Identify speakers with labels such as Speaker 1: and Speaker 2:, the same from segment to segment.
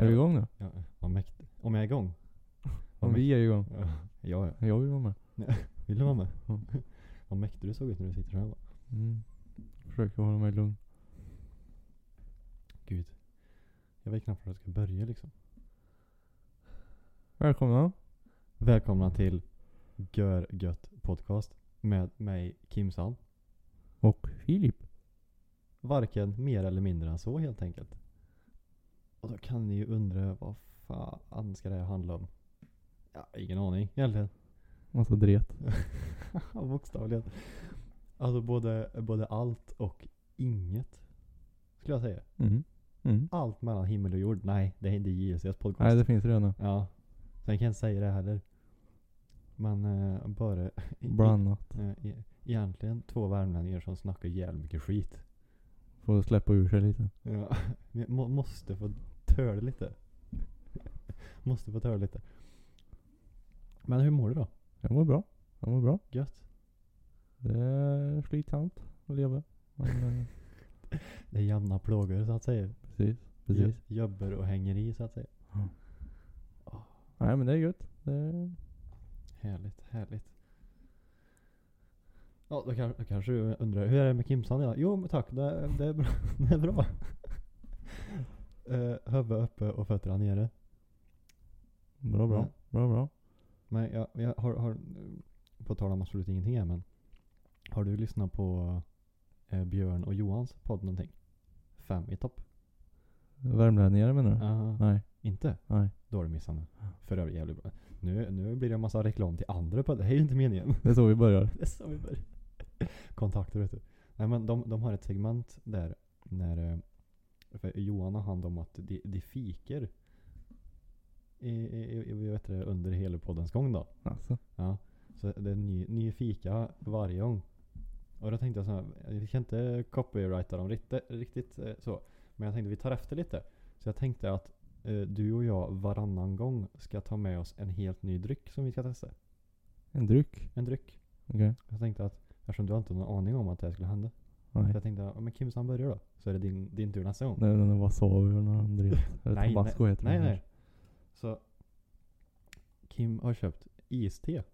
Speaker 1: Är vi igång nu?
Speaker 2: Ja, vad mäktigt. Om jag är igång?
Speaker 1: Om vi är igång.
Speaker 2: Ja, ja. ja.
Speaker 1: Jag vill vara med.
Speaker 2: Vill du vara med?
Speaker 1: Ja.
Speaker 2: Vad mäktig du såg ut när du sitter här. va?
Speaker 1: Mm. Försöker hålla mig lugn.
Speaker 2: Gud. Jag vet knappt var jag ska börja liksom.
Speaker 1: Välkomna.
Speaker 2: Välkomna till Gör Gött Podcast med mig Kimsan.
Speaker 1: Och Filip.
Speaker 2: Varken mer eller mindre än så helt enkelt. Och då kan ni ju undra vad fan ska det här handla om? Ja, ingen aning egentligen.
Speaker 1: Massa Alltså dret.
Speaker 2: Bokstavligen. Alltså både, både allt och inget. Skulle jag säga.
Speaker 1: Mm. Mm.
Speaker 2: Allt mellan himmel och jord. Nej, det är inte JLCs podcast.
Speaker 1: Nej det finns redan nu.
Speaker 2: Ja. Sen kan jag inte säga det heller. Men eh, bara...
Speaker 1: Bland annat.
Speaker 2: Eh, e- egentligen två värmlänningar som snackar jävligt mycket skit.
Speaker 1: Får släppa ur sig lite.
Speaker 2: Ja. Vi må, måste få töla lite. måste få töla lite. Men hur mår du då?
Speaker 1: Jag mår bra. Jag mår bra.
Speaker 2: Gött?
Speaker 1: Det är slitsamt att leva. Men, eh,
Speaker 2: Det är jämna plågor så att säga.
Speaker 1: precis. Precis.
Speaker 2: Jo- Jobbar och hänger i så att säga.
Speaker 1: Nej men det är gött. Det är...
Speaker 2: Härligt, härligt. Ja, då kan- då kanske du undrar, hur är det med Kimsan idag? Jo, men tack. Det, det är bra. Det är bra. Uh, Huvud uppe och fötterna nere.
Speaker 1: Bra bra.
Speaker 2: Ja.
Speaker 1: Bra bra.
Speaker 2: Men jag, jag har, har, på tal om absolut ingenting här, men har du lyssnat på eh, Björn och Johans podd någonting? Fem i topp?
Speaker 1: Värmlänningar menar du?
Speaker 2: Ja.
Speaker 1: Nej.
Speaker 2: Inte?
Speaker 1: Nej.
Speaker 2: Då har du missat nu. För övrigt jävligt bra. Nu, nu blir det en massa reklam till andra poddar. Det är ju inte meningen.
Speaker 1: Det är så vi börjar.
Speaker 2: Det är så vi börjar. Kontakter vet du. Nej men de, de har ett segment där när eh, för Johan har hand om att de, de fiker. I, i, i, vet det, under hela poddens gång då.
Speaker 1: Alltså.
Speaker 2: Ja. Så det är ny, ny fika varje gång. Och då tänkte jag så här, vi kan inte copyrighta dem riktigt, riktigt eh, så. Men jag tänkte vi tar efter lite. Så jag tänkte att eh, du och jag varannan gång ska ta med oss en helt ny dryck som vi ska testa.
Speaker 1: En dryck.
Speaker 2: En dryck.
Speaker 1: Okej.
Speaker 2: Jag tänkte att eftersom du har inte någon aning om att det här skulle hända. Så
Speaker 1: Nej.
Speaker 2: jag tänkte, ja, men Kimsan börjar då. Så är det din, din tur nästa gång.
Speaker 1: Det är den där wasabi och någon dret. Eller
Speaker 2: Nej,
Speaker 1: tabasco heter
Speaker 2: Nej
Speaker 1: den
Speaker 2: nej. Så Kim har köpt iste.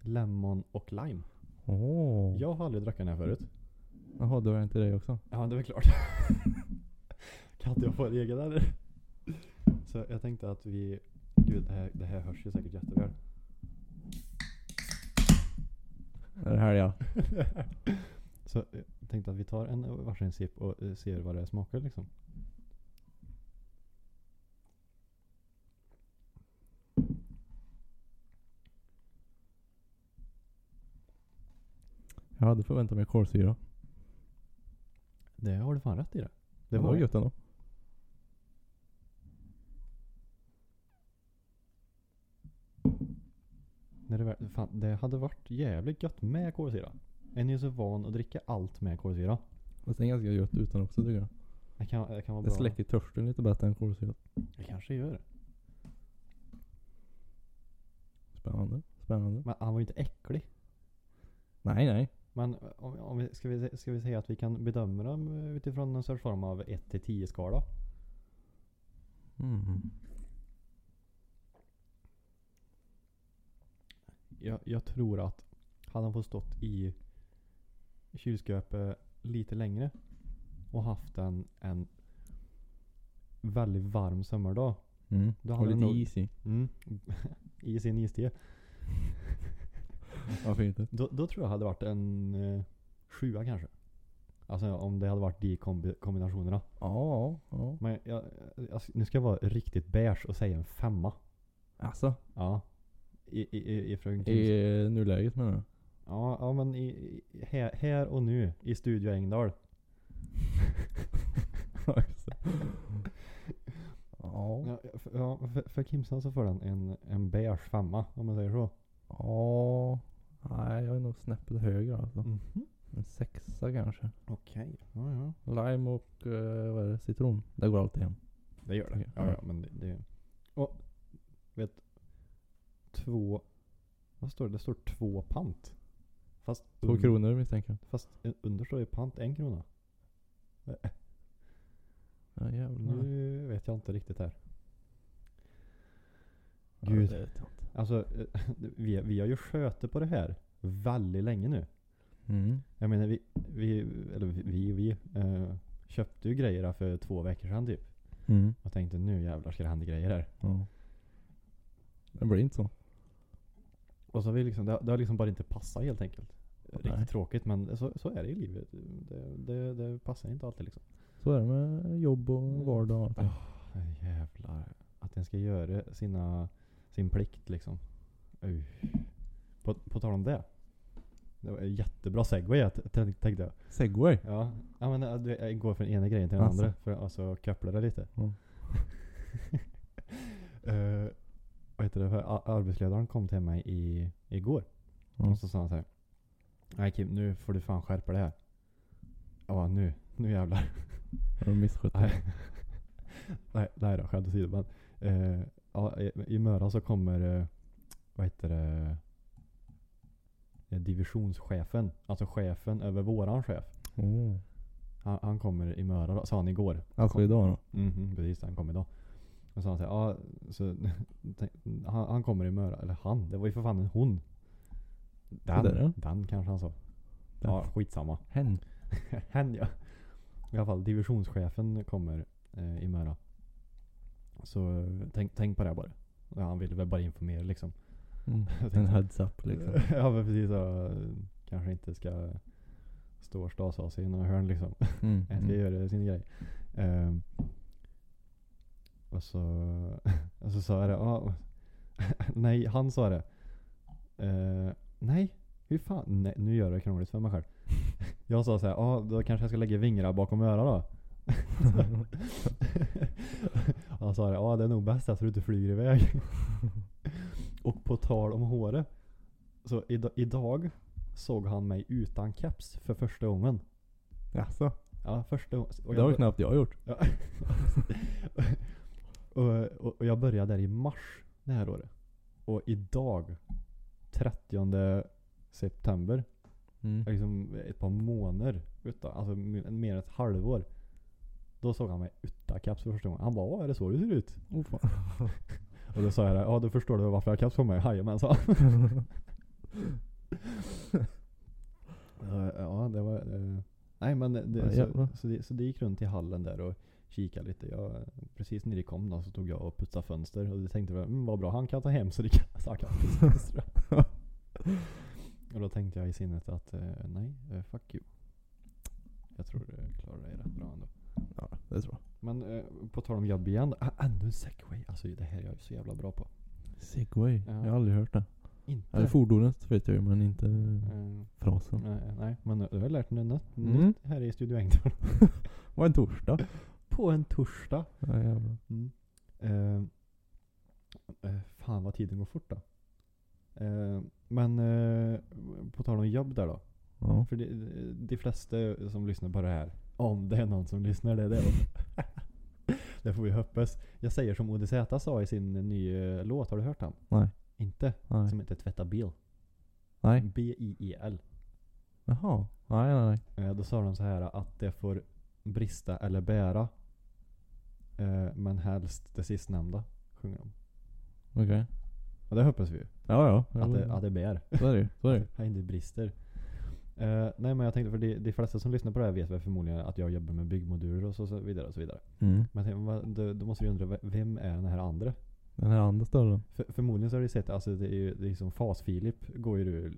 Speaker 2: Lemon och lime.
Speaker 1: Åh. Oh.
Speaker 2: Jag har aldrig druckit den här förut.
Speaker 1: Jaha, då är det inte dig också?
Speaker 2: Ja, det är väl klart. kan inte jag få en egen eller? Så jag tänkte att vi... Gud, det här, det här hörs ju säkert jätteväl.
Speaker 1: Är det här ja?
Speaker 2: Så jag tänkte att vi tar en varsin sipp och eh, ser vad det smakar liksom.
Speaker 1: Jag hade förväntat mig kolsyra.
Speaker 2: Det har du fan rätt i det.
Speaker 1: Det var gött ändå.
Speaker 2: När det, väl- fan, det hade varit jävligt gött med kolsyra. Är ni så van att dricka allt med kolsyra?
Speaker 1: Fast det är ganska gött utan också tycker jag.
Speaker 2: Det kan, det kan vara
Speaker 1: Det
Speaker 2: bra.
Speaker 1: släcker törsten lite bättre än kolsyra.
Speaker 2: Det kanske gör det.
Speaker 1: Spännande. Spännande.
Speaker 2: Men han var ju inte äcklig.
Speaker 1: Nej nej.
Speaker 2: Men om, om vi, ska, vi, ska vi säga att vi kan bedöma dem eh, utifrån någon sorts form av 1 till 10 skala?
Speaker 1: Mm.
Speaker 2: Jag, jag tror att hade han fått stått i kylskåpet lite längre och haft en, en väldigt varm sommardag.
Speaker 1: Mm.
Speaker 2: Då
Speaker 1: Och
Speaker 2: hade
Speaker 1: lite
Speaker 2: den nog-
Speaker 1: is i.
Speaker 2: I sin iste.
Speaker 1: Varför inte?
Speaker 2: Då, då tror jag hade varit en eh, sjua kanske. Alltså om det hade varit de kombi- kombinationerna.
Speaker 1: Ja. ja.
Speaker 2: Men jag, jag, nu ska jag vara riktigt beige och säga en femma.
Speaker 1: Alltså.
Speaker 2: Ja. I, i, i, ifrån
Speaker 1: I nuläget menar jag.
Speaker 2: Ja, ja men i, i, här, här och nu i Studio Engdahl. Ja, för, ja, för, för Kimsan så får den en, en beige femma om man säger så.
Speaker 1: Ja. Nej, jag är nog snäppet högre alltså.
Speaker 2: Mhm.
Speaker 1: En sexa kanske.
Speaker 2: Okej. Ja, ja.
Speaker 1: Lime och eh, vad är det? citron. Det går alltid hem.
Speaker 2: Det gör det.
Speaker 1: Okej.
Speaker 2: Ja, ja, men det, det Och vet två Vad står det? Det står två pant. Fast
Speaker 1: Två
Speaker 2: un-
Speaker 1: kronor misstänker jag.
Speaker 2: Fast eh, under står ju pant en krona. Eh,
Speaker 1: Ja jävlar.
Speaker 2: Nu vet jag inte riktigt här.
Speaker 1: Ja,
Speaker 2: Gud.
Speaker 1: det vet jag inte.
Speaker 2: Alltså eh, vi, vi har ju sköter på det här väldigt länge nu.
Speaker 1: Mm.
Speaker 2: Jag menar vi, vi eller vi, vi, vi eh, köpte ju grejer här för två veckor sedan typ.
Speaker 1: Mm.
Speaker 2: Och tänkte nu jävlar ska det hända grejer här.
Speaker 1: Ja. Det blir inte så.
Speaker 2: Och så har vi liksom, det, det har liksom bara inte passat helt enkelt. Riktigt
Speaker 1: Nej.
Speaker 2: tråkigt men så, så är det i livet. Det, det, det passar inte alltid liksom.
Speaker 1: Så är det med jobb och vardag och allting.
Speaker 2: Nej, Jävlar. Att den ska göra sina, sin plikt liksom. Uj. På, på tal om det. Det var en jättebra segway jag t- t- tänkte jag.
Speaker 1: Segway.
Speaker 2: Ja. ja men eh, du vet, jag går från ena grejen till den
Speaker 1: Alltså.
Speaker 2: andra. För att alltså koppla det lite.
Speaker 1: Mm.
Speaker 2: Eh, vad heter det? För a- arbetsledaren kom till mig i, igår.
Speaker 1: Ja.
Speaker 2: Och så sa han så här. Nej Kim, nu får du fan skärpa det här. Ja nu, nu jävlar.
Speaker 1: Har du misskött det?
Speaker 2: Nej. nej, nej då, skämt åsido. Men, eh, ja, i, I Möra så kommer, eh, vad heter det, eh, divisionschefen. Alltså chefen över våran chef.
Speaker 1: Oh.
Speaker 2: Han, han kommer i Möra då, sa han igår.
Speaker 1: Alltså idag då?
Speaker 2: Mhm, precis, han kom idag. Och så han säger, ja, så, tänk- han, han kommer i Möra. Eller han, det var ju för fan en hon. Den,
Speaker 1: där, ja.
Speaker 2: den kanske han sa.
Speaker 1: Den.
Speaker 2: Ja, skitsamma.
Speaker 1: Hen.
Speaker 2: Hen ja. I alla fall divisionschefen kommer eh, i Möra. Så eh, tänk, tänk på det bara. Ja, han ville väl bara informera liksom.
Speaker 1: Mm.
Speaker 2: Jag tänkte-
Speaker 1: En heads up liksom.
Speaker 2: ja men precis. Ja, kanske inte ska stå och stasa av sig i några hörn liksom.
Speaker 1: Mm.
Speaker 2: Jag ska
Speaker 1: Mm.
Speaker 2: göra sin grej. Ehm, och, så, och så sa jag det. "Ja, nej, han sa det. Eh, nej, hur fan. Nej, nu gör jag det krångligt för mig själv. Jag sa så här, ah, då kanske jag ska lägga vingarna bakom öra då. han sa det, ja ah, det är nog bäst att du inte flyger iväg. och på tal om håret. Så ida- idag såg han mig utan keps för första gången.
Speaker 1: Jaså?
Speaker 2: Ja, första gången. Och
Speaker 1: Det har
Speaker 2: jag,
Speaker 1: ju knappt jag gjort.
Speaker 2: Ja. och, och, och jag började där i mars det här året. Och idag, 30 september,
Speaker 1: Mm.
Speaker 2: liksom ett par månader utan, alltså mer- mer än ett halvår. Då såg han mig utan caps för första gången. Han bara "Åh, är det så du ser ut?”
Speaker 1: Oh, fan.
Speaker 2: Och då sa jag det, “Ja då förstår du varför jag har caps på mig, jajamän” sa han. Eh, Ja det var... eh, Nej men det,
Speaker 1: Ja, jävlar.
Speaker 2: så, så, det, så det gick runt i hallen där och kikade lite. Jag, precis när det kom då så tog jag och putsade fönster och det tänkte jag mm, vad bra han kan ta hem så det kan, så han kan putsa fönster." Och då tänkte jag i sinnet att eh, nej, eh, fuck you. Jag tror det klarar dig rätt bra ändå.
Speaker 1: Ja, det tror jag.
Speaker 2: Men eh, på tal om jobb igen. Ah, ännu en segway. Alltså det här är jag ju så jävla bra på.
Speaker 1: Segway.
Speaker 2: Ja.
Speaker 1: Jag har aldrig hört det.
Speaker 2: Inte.
Speaker 1: Eller fordonet vet jag ju men inte
Speaker 2: Eh,
Speaker 1: frasen.
Speaker 2: nej, nej, men du har lärt dig något
Speaker 1: Mm.
Speaker 2: nytt här i Studio Engdahl.
Speaker 1: Var en torsdag?
Speaker 2: På en torsdag.
Speaker 1: Ja jävlar.
Speaker 2: Mm. Eh, eh, fan vad tiden går fort då. Eh, men eh, på tal om jobb där då.
Speaker 1: Ja.
Speaker 2: För de, de flesta som lyssnar på det här, om det är någon som lyssnar, det är det. det får vi hoppas. Jag säger som ODZ sa i sin nya låt, har du hört den?
Speaker 1: Nej.
Speaker 2: Inte?
Speaker 1: Nej.
Speaker 2: Som heter Tvätta bil. E
Speaker 1: Nej.
Speaker 2: B-I-E-L.
Speaker 1: Jaha. Nej nej nej.
Speaker 2: Eh, Då sa de så här att det får brista eller bära. Eh, Men helst det sistnämnda, sjunger de.
Speaker 1: Okej.
Speaker 2: Och det hoppas vi ju.
Speaker 1: Ja ja.
Speaker 2: Att
Speaker 1: Jo,
Speaker 2: det, att det bär.
Speaker 1: Så är det ju. Så är det ju.
Speaker 2: Att det inte brister. Eh, nej men jag tänkte, för de, de flesta som lyssnar på det här vet väl förmodligen att jag jobbar med byggmoduler och så, så vidare och så vidare.
Speaker 1: Mm.
Speaker 2: Men jag tänkte, vad- då, då måste vi undra, ve- vem är den här andra?
Speaker 1: Den här andra större.
Speaker 2: För, förmodligen så har du sett, alltså det är ju det är som Fas-Filip går ju du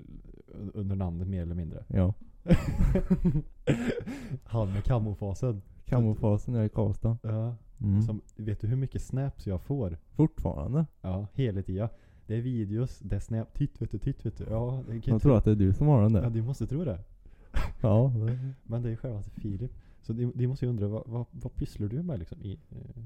Speaker 2: un- under namnet mer eller mindre.
Speaker 1: Ja.
Speaker 2: Han med camofasen.
Speaker 1: Camofasen är i Karlstad.
Speaker 2: Ja.
Speaker 1: Mm.
Speaker 2: Som, vet du hur mycket snaps jag får?
Speaker 1: Fortfarande.
Speaker 2: Ja, hela tiden. Det är videos, det är snap, titt vet du, titt vet du. Ja, det kan ju
Speaker 1: Jag
Speaker 2: tro-
Speaker 1: tror att det är du som har den
Speaker 2: Ja,
Speaker 1: där.
Speaker 2: du måste tro det.
Speaker 1: Ja. det-
Speaker 2: Mm. Men det är ju självaste Filip. Så de, de måste ju undra, vad, vad, vad pysslar du med liksom? I, eh,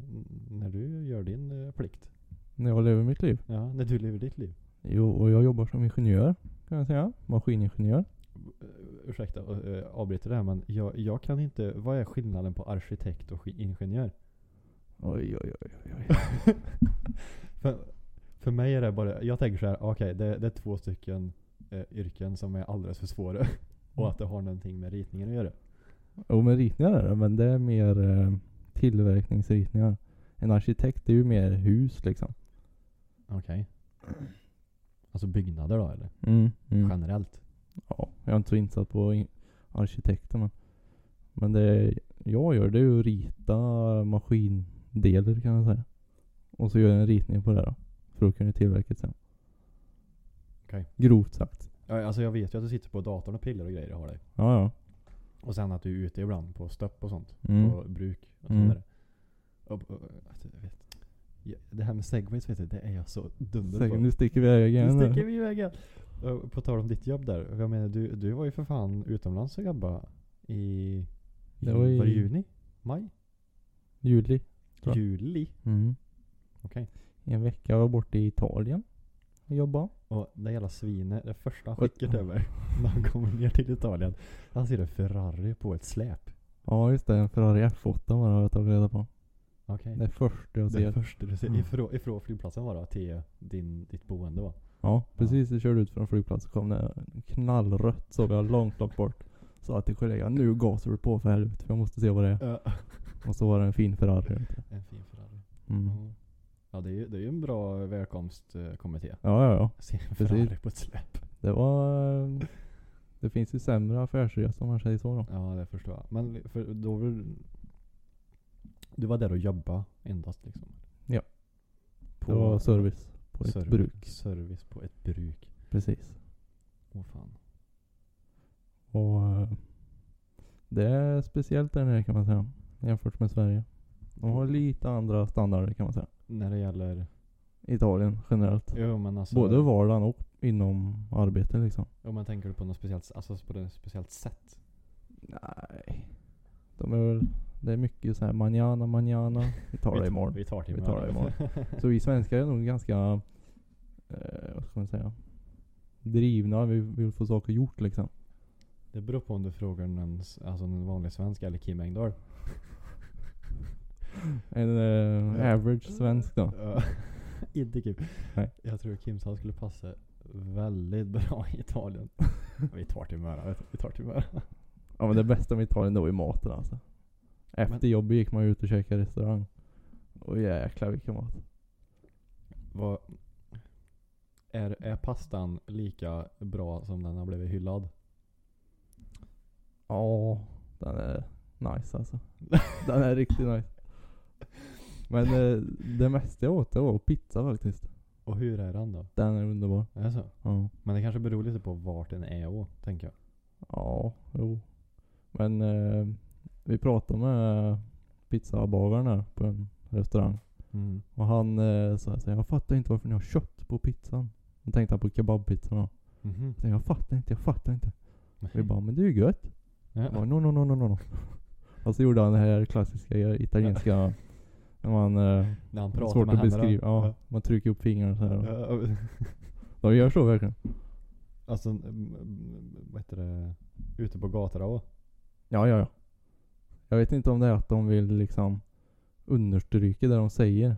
Speaker 2: när du gör din eh, plikt?
Speaker 1: När jag lever mitt liv.
Speaker 2: Ja, när du lever ditt liv?
Speaker 1: Jo, och jag jobbar som ingenjör kan jag säga. Maskiningenjör.
Speaker 2: Eh, Ursäkta, uh, avbryter det här men jag, jag kan inte, vad är skillnaden på arkitekt och ski- ingenjör?
Speaker 1: Oj, oj, oj, oj, oj.
Speaker 2: För, för mig är det bara, jag tänker så här, okej det, det är två stycken eh, yrken som är alldeles för svåra. Och
Speaker 1: Mm.
Speaker 2: att det har någonting med ritningen att göra.
Speaker 1: Jo men ritningar är det, men det är mer eh, tillverkningsritningar. En arkitekt är ju mer hus liksom.
Speaker 2: Okej. Alltså byggnader då eller?
Speaker 1: Mm, mm.
Speaker 2: Generellt?
Speaker 1: Ja, jag är inte så insatt på in- arkitekter men. Men det jag gör det är ju att rita maskindelar kan man säga. Och så gör jag en ritning på det då. För att kunna tillverka det sen.
Speaker 2: Okej.
Speaker 1: Grovt sagt.
Speaker 2: Ja, Alltså jag vet ju att du sitter på datorn och pillar och grejer, det har dig.
Speaker 1: Ja, ja.
Speaker 2: Och sen att du är ute ibland på stöpp och sånt.
Speaker 1: Mm.
Speaker 2: På bruk och så
Speaker 1: Mm.
Speaker 2: vidare. Och, och, att jag vet. Ja, Det här med segways vet du, det är jag så dunder på.
Speaker 1: Säg, nu sticker vi iväg
Speaker 2: Nu
Speaker 1: igen.
Speaker 2: sticker vi iväg igen. Och På tal om ditt jobb där. Jag menar, du, du var ju för fan utomlands och jobbade i... i
Speaker 1: Det var i-
Speaker 2: det juni? Maj?
Speaker 1: Juli. Tror jag.
Speaker 2: Juli?
Speaker 1: Mm.
Speaker 2: Okej.
Speaker 1: I En vecka var jag borta i Italien och jobbade.
Speaker 2: Och det jävla svinet, det första han
Speaker 1: Och-
Speaker 2: skickar över när han kommer ner till Italien. Han ser en Ferrari på ett släp.
Speaker 1: Ja just det, en Ferrari F8 var det har jag tagit reda på.
Speaker 2: Okej.
Speaker 1: Det är första jag
Speaker 2: Det
Speaker 1: ser.
Speaker 2: första du ser
Speaker 1: Mm.
Speaker 2: ifrån, ifrån flygplatsen var det till din, ditt boende va?
Speaker 1: Ja, precis. Jag körde ut från flygplatsen kom det knallrött så vi var långt, långt bort. Sa till kollegan, nu gasar du på för helvete för jag måste se vad det är.
Speaker 2: Ja.
Speaker 1: Och så var det en fin Ferrari.
Speaker 2: En fin Ferrari.
Speaker 1: Mm.
Speaker 2: Ja. Ja det är ju det är ju en bra välkomstkommitté.
Speaker 1: Ja, ja, ja.
Speaker 2: Se en
Speaker 1: Precis.
Speaker 2: Ferrari på ett släp.
Speaker 1: Det var... eh, Det finns ju sämre affärsresor om man säger så då.
Speaker 2: Ja det förstår jag. Men li- för då var du, du var där och jobbade endast liksom?
Speaker 1: Ja.
Speaker 2: På
Speaker 1: Det var service på ett
Speaker 2: serv-
Speaker 1: bruk.
Speaker 2: Service på ett bruk.
Speaker 1: Precis.
Speaker 2: Åh fan.
Speaker 1: Och eh, det är speciellt där nere kan man säga. Jämfört med Sverige. De har lite andra standarder kan man säga.
Speaker 2: När det gäller,
Speaker 1: Italien generellt.
Speaker 2: jo men alltså.
Speaker 1: Både vardagen och inom arbete liksom.
Speaker 2: Om man tänker på något speciellt, alltså på ett speciellt sätt.
Speaker 1: Nej. De är väl, det är mycket så här manjana, manjana. Vi tar det imorgon.
Speaker 2: Vi tar det
Speaker 1: Vi
Speaker 2: imorgon.
Speaker 1: tar det imorgon. Så vi svenskar är nog ganska, eh, vad ska man säga, drivna. Vi vill få saker gjort liksom.
Speaker 2: Det beror på om du frågar en, s- alltså en vanlig svensk eller Kim Engdahl.
Speaker 1: En eh, average svensk då.
Speaker 2: Ja. Inte Kim.
Speaker 1: Nej.
Speaker 2: Jag tror Kims han skulle passa väldigt bra i Italien. vi tar till Möra. vet du. Vi tar till Möra.
Speaker 1: Ja men det bästa med Italien det var ju maten alltså. Efter
Speaker 2: Men-
Speaker 1: jobbet gick man ut och käkade restaurang. Och jäklar vilken mat.
Speaker 2: Vad, är, är pastan lika bra som den har blivit hyllad?
Speaker 1: Ja, den är nice alltså. Den är riktigt nice. Men eh, det mesta jag åt det var pizza faktiskt.
Speaker 2: Och hur är den då?
Speaker 1: Den är underbar.
Speaker 2: Är det så?
Speaker 1: Ja,
Speaker 2: Men det kanske beror lite på vart den är och, tänker jag.
Speaker 1: ja jo. Men eh, vi pratade med pizzabagaren här på en restaurang.
Speaker 2: Mm.
Speaker 1: Och han eh, sa så här, jag fattar inte varför ni har kött på pizzan. Då tänkte han på kebabpizzan då.
Speaker 2: Mhm.
Speaker 1: Jag, jag fattar inte, jag fattar inte. Vi bara, men det är ju gött. Jag bara,
Speaker 2: Ja.
Speaker 1: no, no, no, no, no, no. Och så gjorde han det här klassiska italienska, när man eh,
Speaker 2: När han pratar
Speaker 1: Svårt
Speaker 2: med
Speaker 1: att
Speaker 2: händerna.
Speaker 1: beskriva. Ja, Man trycker upp fingrarna så här.
Speaker 2: Ja, och-
Speaker 1: De gör så verkligen.
Speaker 2: Alltså, mm, mm, vad heter det? Ute på gatorna och
Speaker 1: Ja, ja, ja. Jag vet inte om det är att de vill liksom understryka det de säger.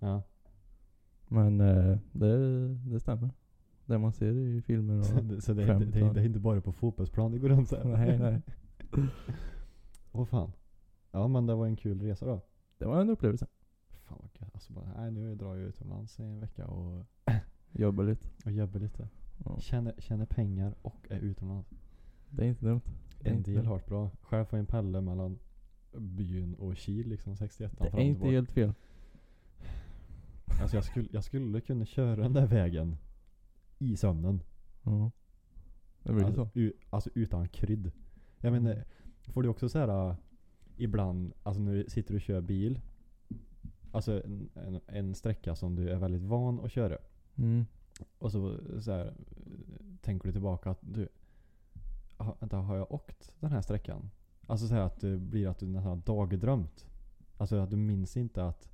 Speaker 2: Ja.
Speaker 1: Men eh, det, det stämmer. Det man ser i filmer
Speaker 2: Så,
Speaker 1: och...
Speaker 2: det, så det, är inte- det, är-
Speaker 1: skämtar.
Speaker 2: det är inte bara på fotbollsplan det går runt såhär.
Speaker 1: nej, nej.
Speaker 2: Åh fan. Ja men det var en kul resa då.
Speaker 1: Det var en upplevelse.
Speaker 2: Fan vad gött. Alltså bara, nej nu drar jag utomlands i en vecka och,
Speaker 1: Jobba lite.
Speaker 2: och jobbar lite.
Speaker 1: Ja.
Speaker 2: Tjänar, tjänar pengar och är utomlands.
Speaker 1: Det är inte dumt. Det är
Speaker 2: En
Speaker 1: inte
Speaker 2: del
Speaker 1: dumt.
Speaker 2: hårt bra. Själv får jag en pelle mellan byn och Kil liksom 61
Speaker 1: Det är inte helt fel.
Speaker 2: Alltså jag skulle, jag skulle kunna köra den där vägen i sömnen.
Speaker 1: Ja. Det blir ju
Speaker 2: alltså,
Speaker 1: så.
Speaker 2: U, alltså utan krydd. Jag menar,
Speaker 1: Mm.
Speaker 2: får du också så här äh, ibland, alltså när du sitter och kör bil. Alltså en, en, en sträcka som du är väldigt van att köra.
Speaker 1: Mm.
Speaker 2: Och så, så här, äh, tänker du tillbaka att du, ha, vänta, har jag åkt den här sträckan? Alltså så här att det blir att du nästan har dagdrömt. Alltså att du minns inte att...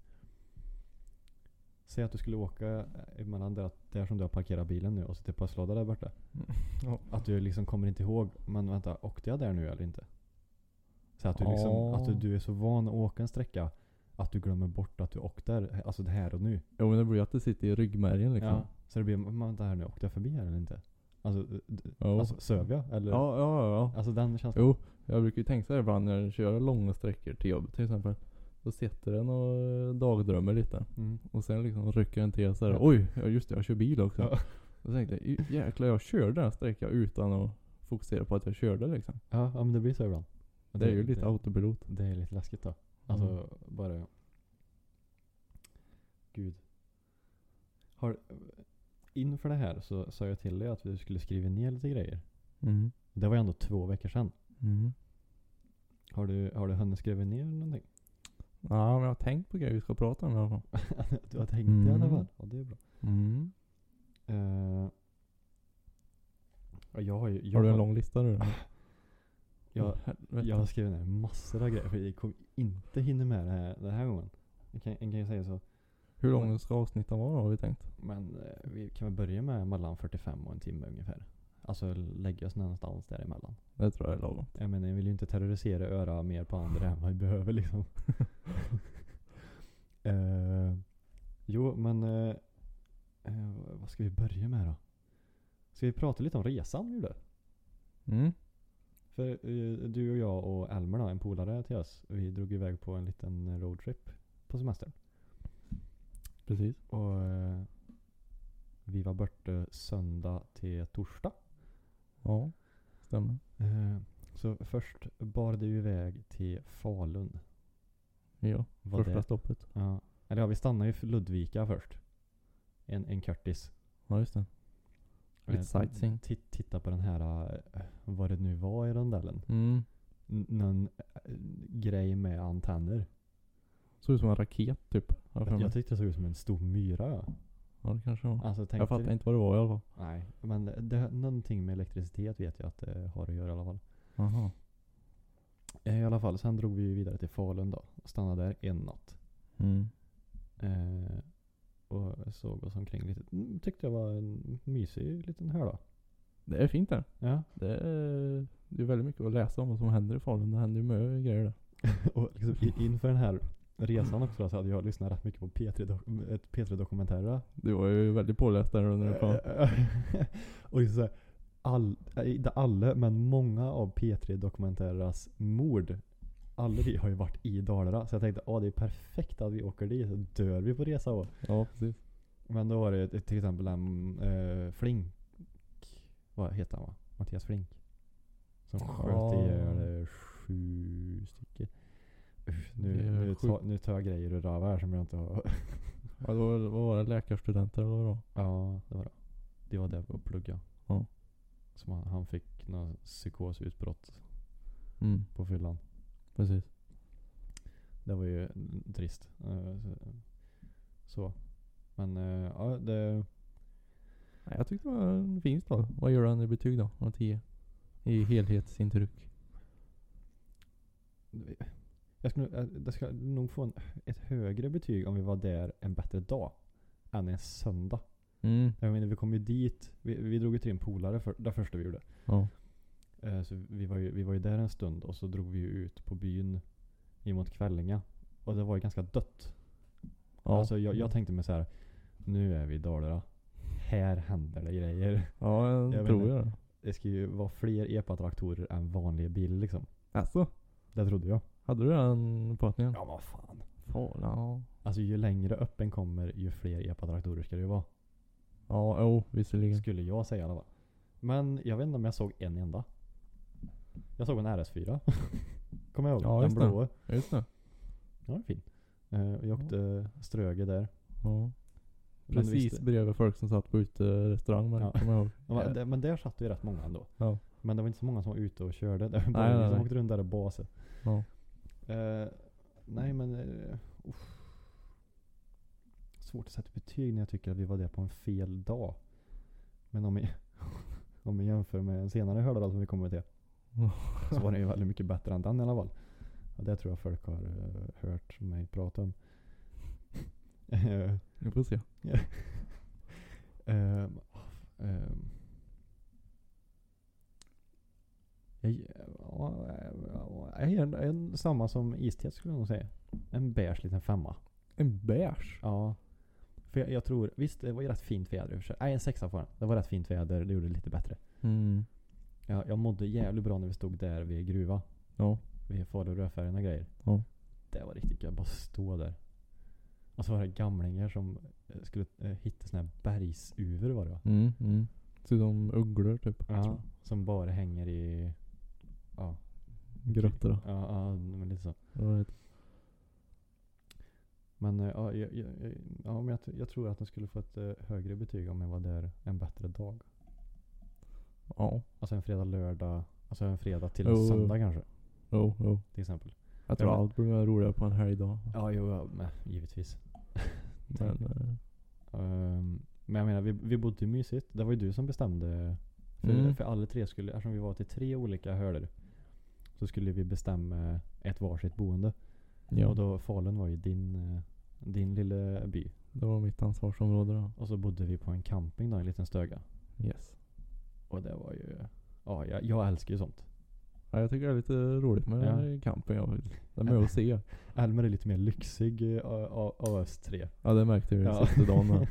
Speaker 2: Säg att du skulle åka mellan där, där som du har parkerat bilen nu och så till postlådan där borta.
Speaker 1: Mm. Ja.
Speaker 2: Att du liksom kommer inte ihåg, men vänta, åkte jag där nu eller inte? Så att du liksom,
Speaker 1: Ja.
Speaker 2: att du, du är så van att åka en sträcka att du glömmer bort att du åkte där, alltså det här och nu.
Speaker 1: Jo men det blir ju att det sitter i ryggmärgen liksom.
Speaker 2: Ja. Så det blir, men vänta här nu, åkte jag förbi här eller inte? Alltså, d-
Speaker 1: Jo.
Speaker 2: alltså söv jag? Eller?
Speaker 1: ja, ja, ja.
Speaker 2: Alltså den känslan.
Speaker 1: Jo, jag brukar ju tänka så här ibland när jag kör långa sträckor till jobbet till exempel. Då sitter den och dagdrömmer lite.
Speaker 2: Mm.
Speaker 1: Och sen liksom rycker den till så här.
Speaker 2: Ja.
Speaker 1: Oj, ja, just det jag kör bil också.
Speaker 2: Ja.
Speaker 1: Då tänkte jag, "J- jäklar jag körde den här sträckan utan att fokusera på att jag körde liksom.
Speaker 2: Ja, ja men det blir så ibland. Och
Speaker 1: Det är ju lite Mm. autopilot.
Speaker 2: Det är lite läskigt då. Alltså bara... Gud. Har, inför det här så sa jag till dig att vi skulle skriva ner lite grejer.
Speaker 1: Mm.
Speaker 2: Det var ju ändå två veckor sedan.
Speaker 1: Mm.
Speaker 2: Har du, har du hunnit skriva ner någonting?
Speaker 1: Ja men jag har tänkt på grejer vi ska prata om i alla fall.
Speaker 2: du har tänkt i alla
Speaker 1: Mm.
Speaker 2: fall? Ja, det är bra. Eh, ja, jag har ju... Jag
Speaker 1: Har du en lång lista nu?
Speaker 2: Jag,
Speaker 1: Åh, helvete.
Speaker 2: Jag har skrivit ner massor av grejer för jag kommer inte hinna med det här den här gången. Jag kan, jag kan ju säga så.
Speaker 1: Hur lång ska avsnitten vara har vi tänkt?
Speaker 2: Men eh, vi kan väl börja med mellan 45 och en timme ungefär. Alltså lägga oss någonstans däremellan.
Speaker 1: Det tror jag är lagom.
Speaker 2: Jag menar jag vill ju inte terrorisera öra mer på andra än vad vi behöver liksom. eh, jo men eh, eh, vad ska vi börja med då? Ska vi prata lite om resan vi gjorde?
Speaker 1: Mm.
Speaker 2: För eh, du och jag och Elmer då, en polare till oss. Vi drog iväg på en liten roadtrip på semestern.
Speaker 1: Precis.
Speaker 2: Och eh, vi var borta söndag till torsdag.
Speaker 1: Ja. Stämmer.
Speaker 2: Eh, så först bar det ju iväg till Falun.
Speaker 1: Ja.
Speaker 2: Var
Speaker 1: Första
Speaker 2: det?
Speaker 1: stoppet.
Speaker 2: Ja. Eller ja, vi stannade ju för Ludvika först. En, en kurtis.
Speaker 1: Ja just det. Lite
Speaker 2: Eh,
Speaker 1: sightseeing.
Speaker 2: ti- Titta på den här, eh, vad det nu var i rondellen.
Speaker 1: Mm.
Speaker 2: N- någon eh, grej med antenner.
Speaker 1: Såg ut som en raket typ. har jag för
Speaker 2: Jag,
Speaker 1: mig.
Speaker 2: jag tyckte det såg ut som en stor myra. Ja.
Speaker 1: Ja det kanske var.
Speaker 2: Alltså, tänkte,
Speaker 1: jag fattar inte vad det var i alla fall.
Speaker 2: Nej, men det, det, någonting med elektricitet vet jag att det har att göra i alla fall.
Speaker 1: Jaha.
Speaker 2: Eh, I alla fall, sen drog vi ju vidare till Falun då. Och stannade där en natt.
Speaker 1: Mm.
Speaker 2: Eh, och såg oss omkring lite. Mm, Tyckte jag var en mysig liten hörda.
Speaker 1: Det är fint det.
Speaker 2: Ja.
Speaker 1: Det är, det är väldigt mycket att läsa om vad som händer i Falun. Det händer ju mycket grejer där.
Speaker 2: och liksom, i- inför den här resan också då, så hade jag lyssnat rätt mycket på P3 dok- ett P3 dokumentärer.
Speaker 1: Du var ju väldigt påläst där under det kom.
Speaker 2: och liksom så här, all, eh, inte alla, men många av P3 dokumentärernas mord. Alla vi har ju varit i Dalarna. Så jag tänkte, ah det är perfekt att vi åker dit. Så dör vi på resa då.
Speaker 1: Ja precis.
Speaker 2: Men då var det ett- till exempel en eh, Flink. Vad heter han va? Mattias Flink. Som sköt
Speaker 1: Ja.
Speaker 2: ihjäl eh, sju stycken. Usch, Nu,
Speaker 1: Det är
Speaker 2: nu,
Speaker 1: sjukt.
Speaker 2: ta, nu tar jag grejer ur röva här som jag inte har.
Speaker 1: Ja, det var, vad var det? Läkarstudenter eller vad det var?
Speaker 2: Ja, det var det. Det var det att plugga.
Speaker 1: Ja.
Speaker 2: Som han, han fick några psykosutbrott
Speaker 1: Mm.
Speaker 2: på fyllan.
Speaker 1: Precis.
Speaker 2: Det var ju mm, trist. Eh, så- Så. Men eh, ja, det...
Speaker 1: Nej, jag tyckte det var en fin stad. Vad gör han i betyg då? Av 10? I helhetsintryck.
Speaker 2: Jag skulle, eh, jag skulle nog få en, ett högre betyg om vi var där en bättre dag. Än en söndag.
Speaker 1: Mm.
Speaker 2: Jag menar vi kom ju dit. Vi, vi drog ju till en polare för, det första vi gjorde.
Speaker 1: Ja.
Speaker 2: Eh, så vi var, ju, vi var ju där en stund och så drog vi ju ut på byn emot Kvällinga. Och det var ju ganska dött.
Speaker 1: Ja.
Speaker 2: Alltså jag, jag tänkte mig så här. Nu är vi i Dalarna. Här händer det grejer.
Speaker 1: ja, jag,
Speaker 2: jag
Speaker 1: tror
Speaker 2: vet
Speaker 1: jag det.
Speaker 2: Det ska ju vara fler epatraktorer än vanliga bilar liksom.
Speaker 1: Alltså,
Speaker 2: Det trodde jag.
Speaker 1: hade du den uppfattningen?
Speaker 2: Ja vad fan.
Speaker 1: Fan, ja.
Speaker 2: Alltså ju längre upp en kommer ju fler epatraktorer ska det ju vara.
Speaker 1: Ja, jo, visserligen.
Speaker 2: Skulle jag säga i alla fall. Men jag vet inte om jag såg en enda. Jag såg en RS4. Kommer jag ihåg?
Speaker 1: Ja,
Speaker 2: den
Speaker 1: just det.
Speaker 2: blåa.
Speaker 1: Ja, Just det.
Speaker 2: Ja, den är fin. Eh, jag åkte Ströge där.
Speaker 1: Ja.
Speaker 2: Men
Speaker 1: Precis
Speaker 2: visst-
Speaker 1: bredvid folk som satt på uterestaurang men
Speaker 2: Ja.
Speaker 1: kommer jag ihåg.
Speaker 2: Ja, Men, där- men där satt det ju rätt många ändå.
Speaker 1: Ja.
Speaker 2: Men det var inte så många som var ute och körde. Det var bara vi
Speaker 1: nej,
Speaker 2: som
Speaker 1: nej.
Speaker 2: åkte runt där och basade.
Speaker 1: Ja.
Speaker 2: Eh, nej men... eh, uff. Svårt att sätta betyg när jag tycker att vi var där på en fel dag. Men om vi, om vi jämför med en senare hörda då som vi kommer till. Så var den ju väldigt mycket bättre än den i alla fall. Ja, det tror jag folk har eh, hört mig prata om. Eh,
Speaker 1: Vi får se.
Speaker 2: Ehm, ehm. Jag, ge- ja, ja, jag ger en, en samma som iste skulle jag nog säga. En beige liten femma.
Speaker 1: En beige?
Speaker 2: Ja. För jag, jag tror, visst det var ju rätt fint väder i och för sig. Nej en sexa får den. Det var rätt fint väder, det gjorde det lite bättre.
Speaker 1: Mm.
Speaker 2: Jag, jag mådde jävligt bra när vi stod där vid gruva.
Speaker 1: Ja.
Speaker 2: Vid Falurödfärgen och grejer.
Speaker 1: Ja.
Speaker 2: Det var riktigt gött, bara stå där. Och så var det gamlingar som eh, skulle eh, hitta såna här bergsuvor var det va?
Speaker 1: Mm, mm. Ser ut som ugglor typ.
Speaker 2: Ja, som bara hänger i... Ja,
Speaker 1: Grottor då.
Speaker 2: ja, ja men lite så.
Speaker 1: Det var ett-
Speaker 2: Men eh, ja, jag, jag, jag- ja, men jag, tr- jag tror att den skulle få ett eh, högre betyg om jag var där en bättre dag.
Speaker 1: Ja.
Speaker 2: Alltså en fredag, lördag. Alltså en fredag till
Speaker 1: Jo,
Speaker 2: en
Speaker 1: jo.
Speaker 2: söndag kanske.
Speaker 1: Jo, jo.
Speaker 2: Till exempel.
Speaker 1: Jag tror
Speaker 2: men-
Speaker 1: allt blir mer roligare på en helgdag.
Speaker 2: Ja, jo, ja, men, givetvis.
Speaker 1: Men, eh,
Speaker 2: Ehm, men jag menar, vi, vi bodde ju mysigt. Det var ju du som bestämde. För,
Speaker 1: Mm.
Speaker 2: för alla tre skulle, eftersom vi var till tre olika hörder. Så skulle vi bestämma ett varsitt boende.
Speaker 1: ja,
Speaker 2: Och då Falun var ju din, eh, din lilla by.
Speaker 1: det var mitt ansvarsområde då.
Speaker 2: Och så bodde vi på en camping då, en liten stöga.
Speaker 1: Yes.
Speaker 2: Och det var ju... Ja, jag, jag älskar ju sånt.
Speaker 1: Ja, jag tycker det är lite roligt med
Speaker 2: Ja.
Speaker 1: camping. Jag vill. Det är med att se.
Speaker 2: Elmer är lite mer lyxig eh, av, av- av oss tre.
Speaker 1: Ja, det märkte vi
Speaker 2: Ja.
Speaker 1: sista dagen. där.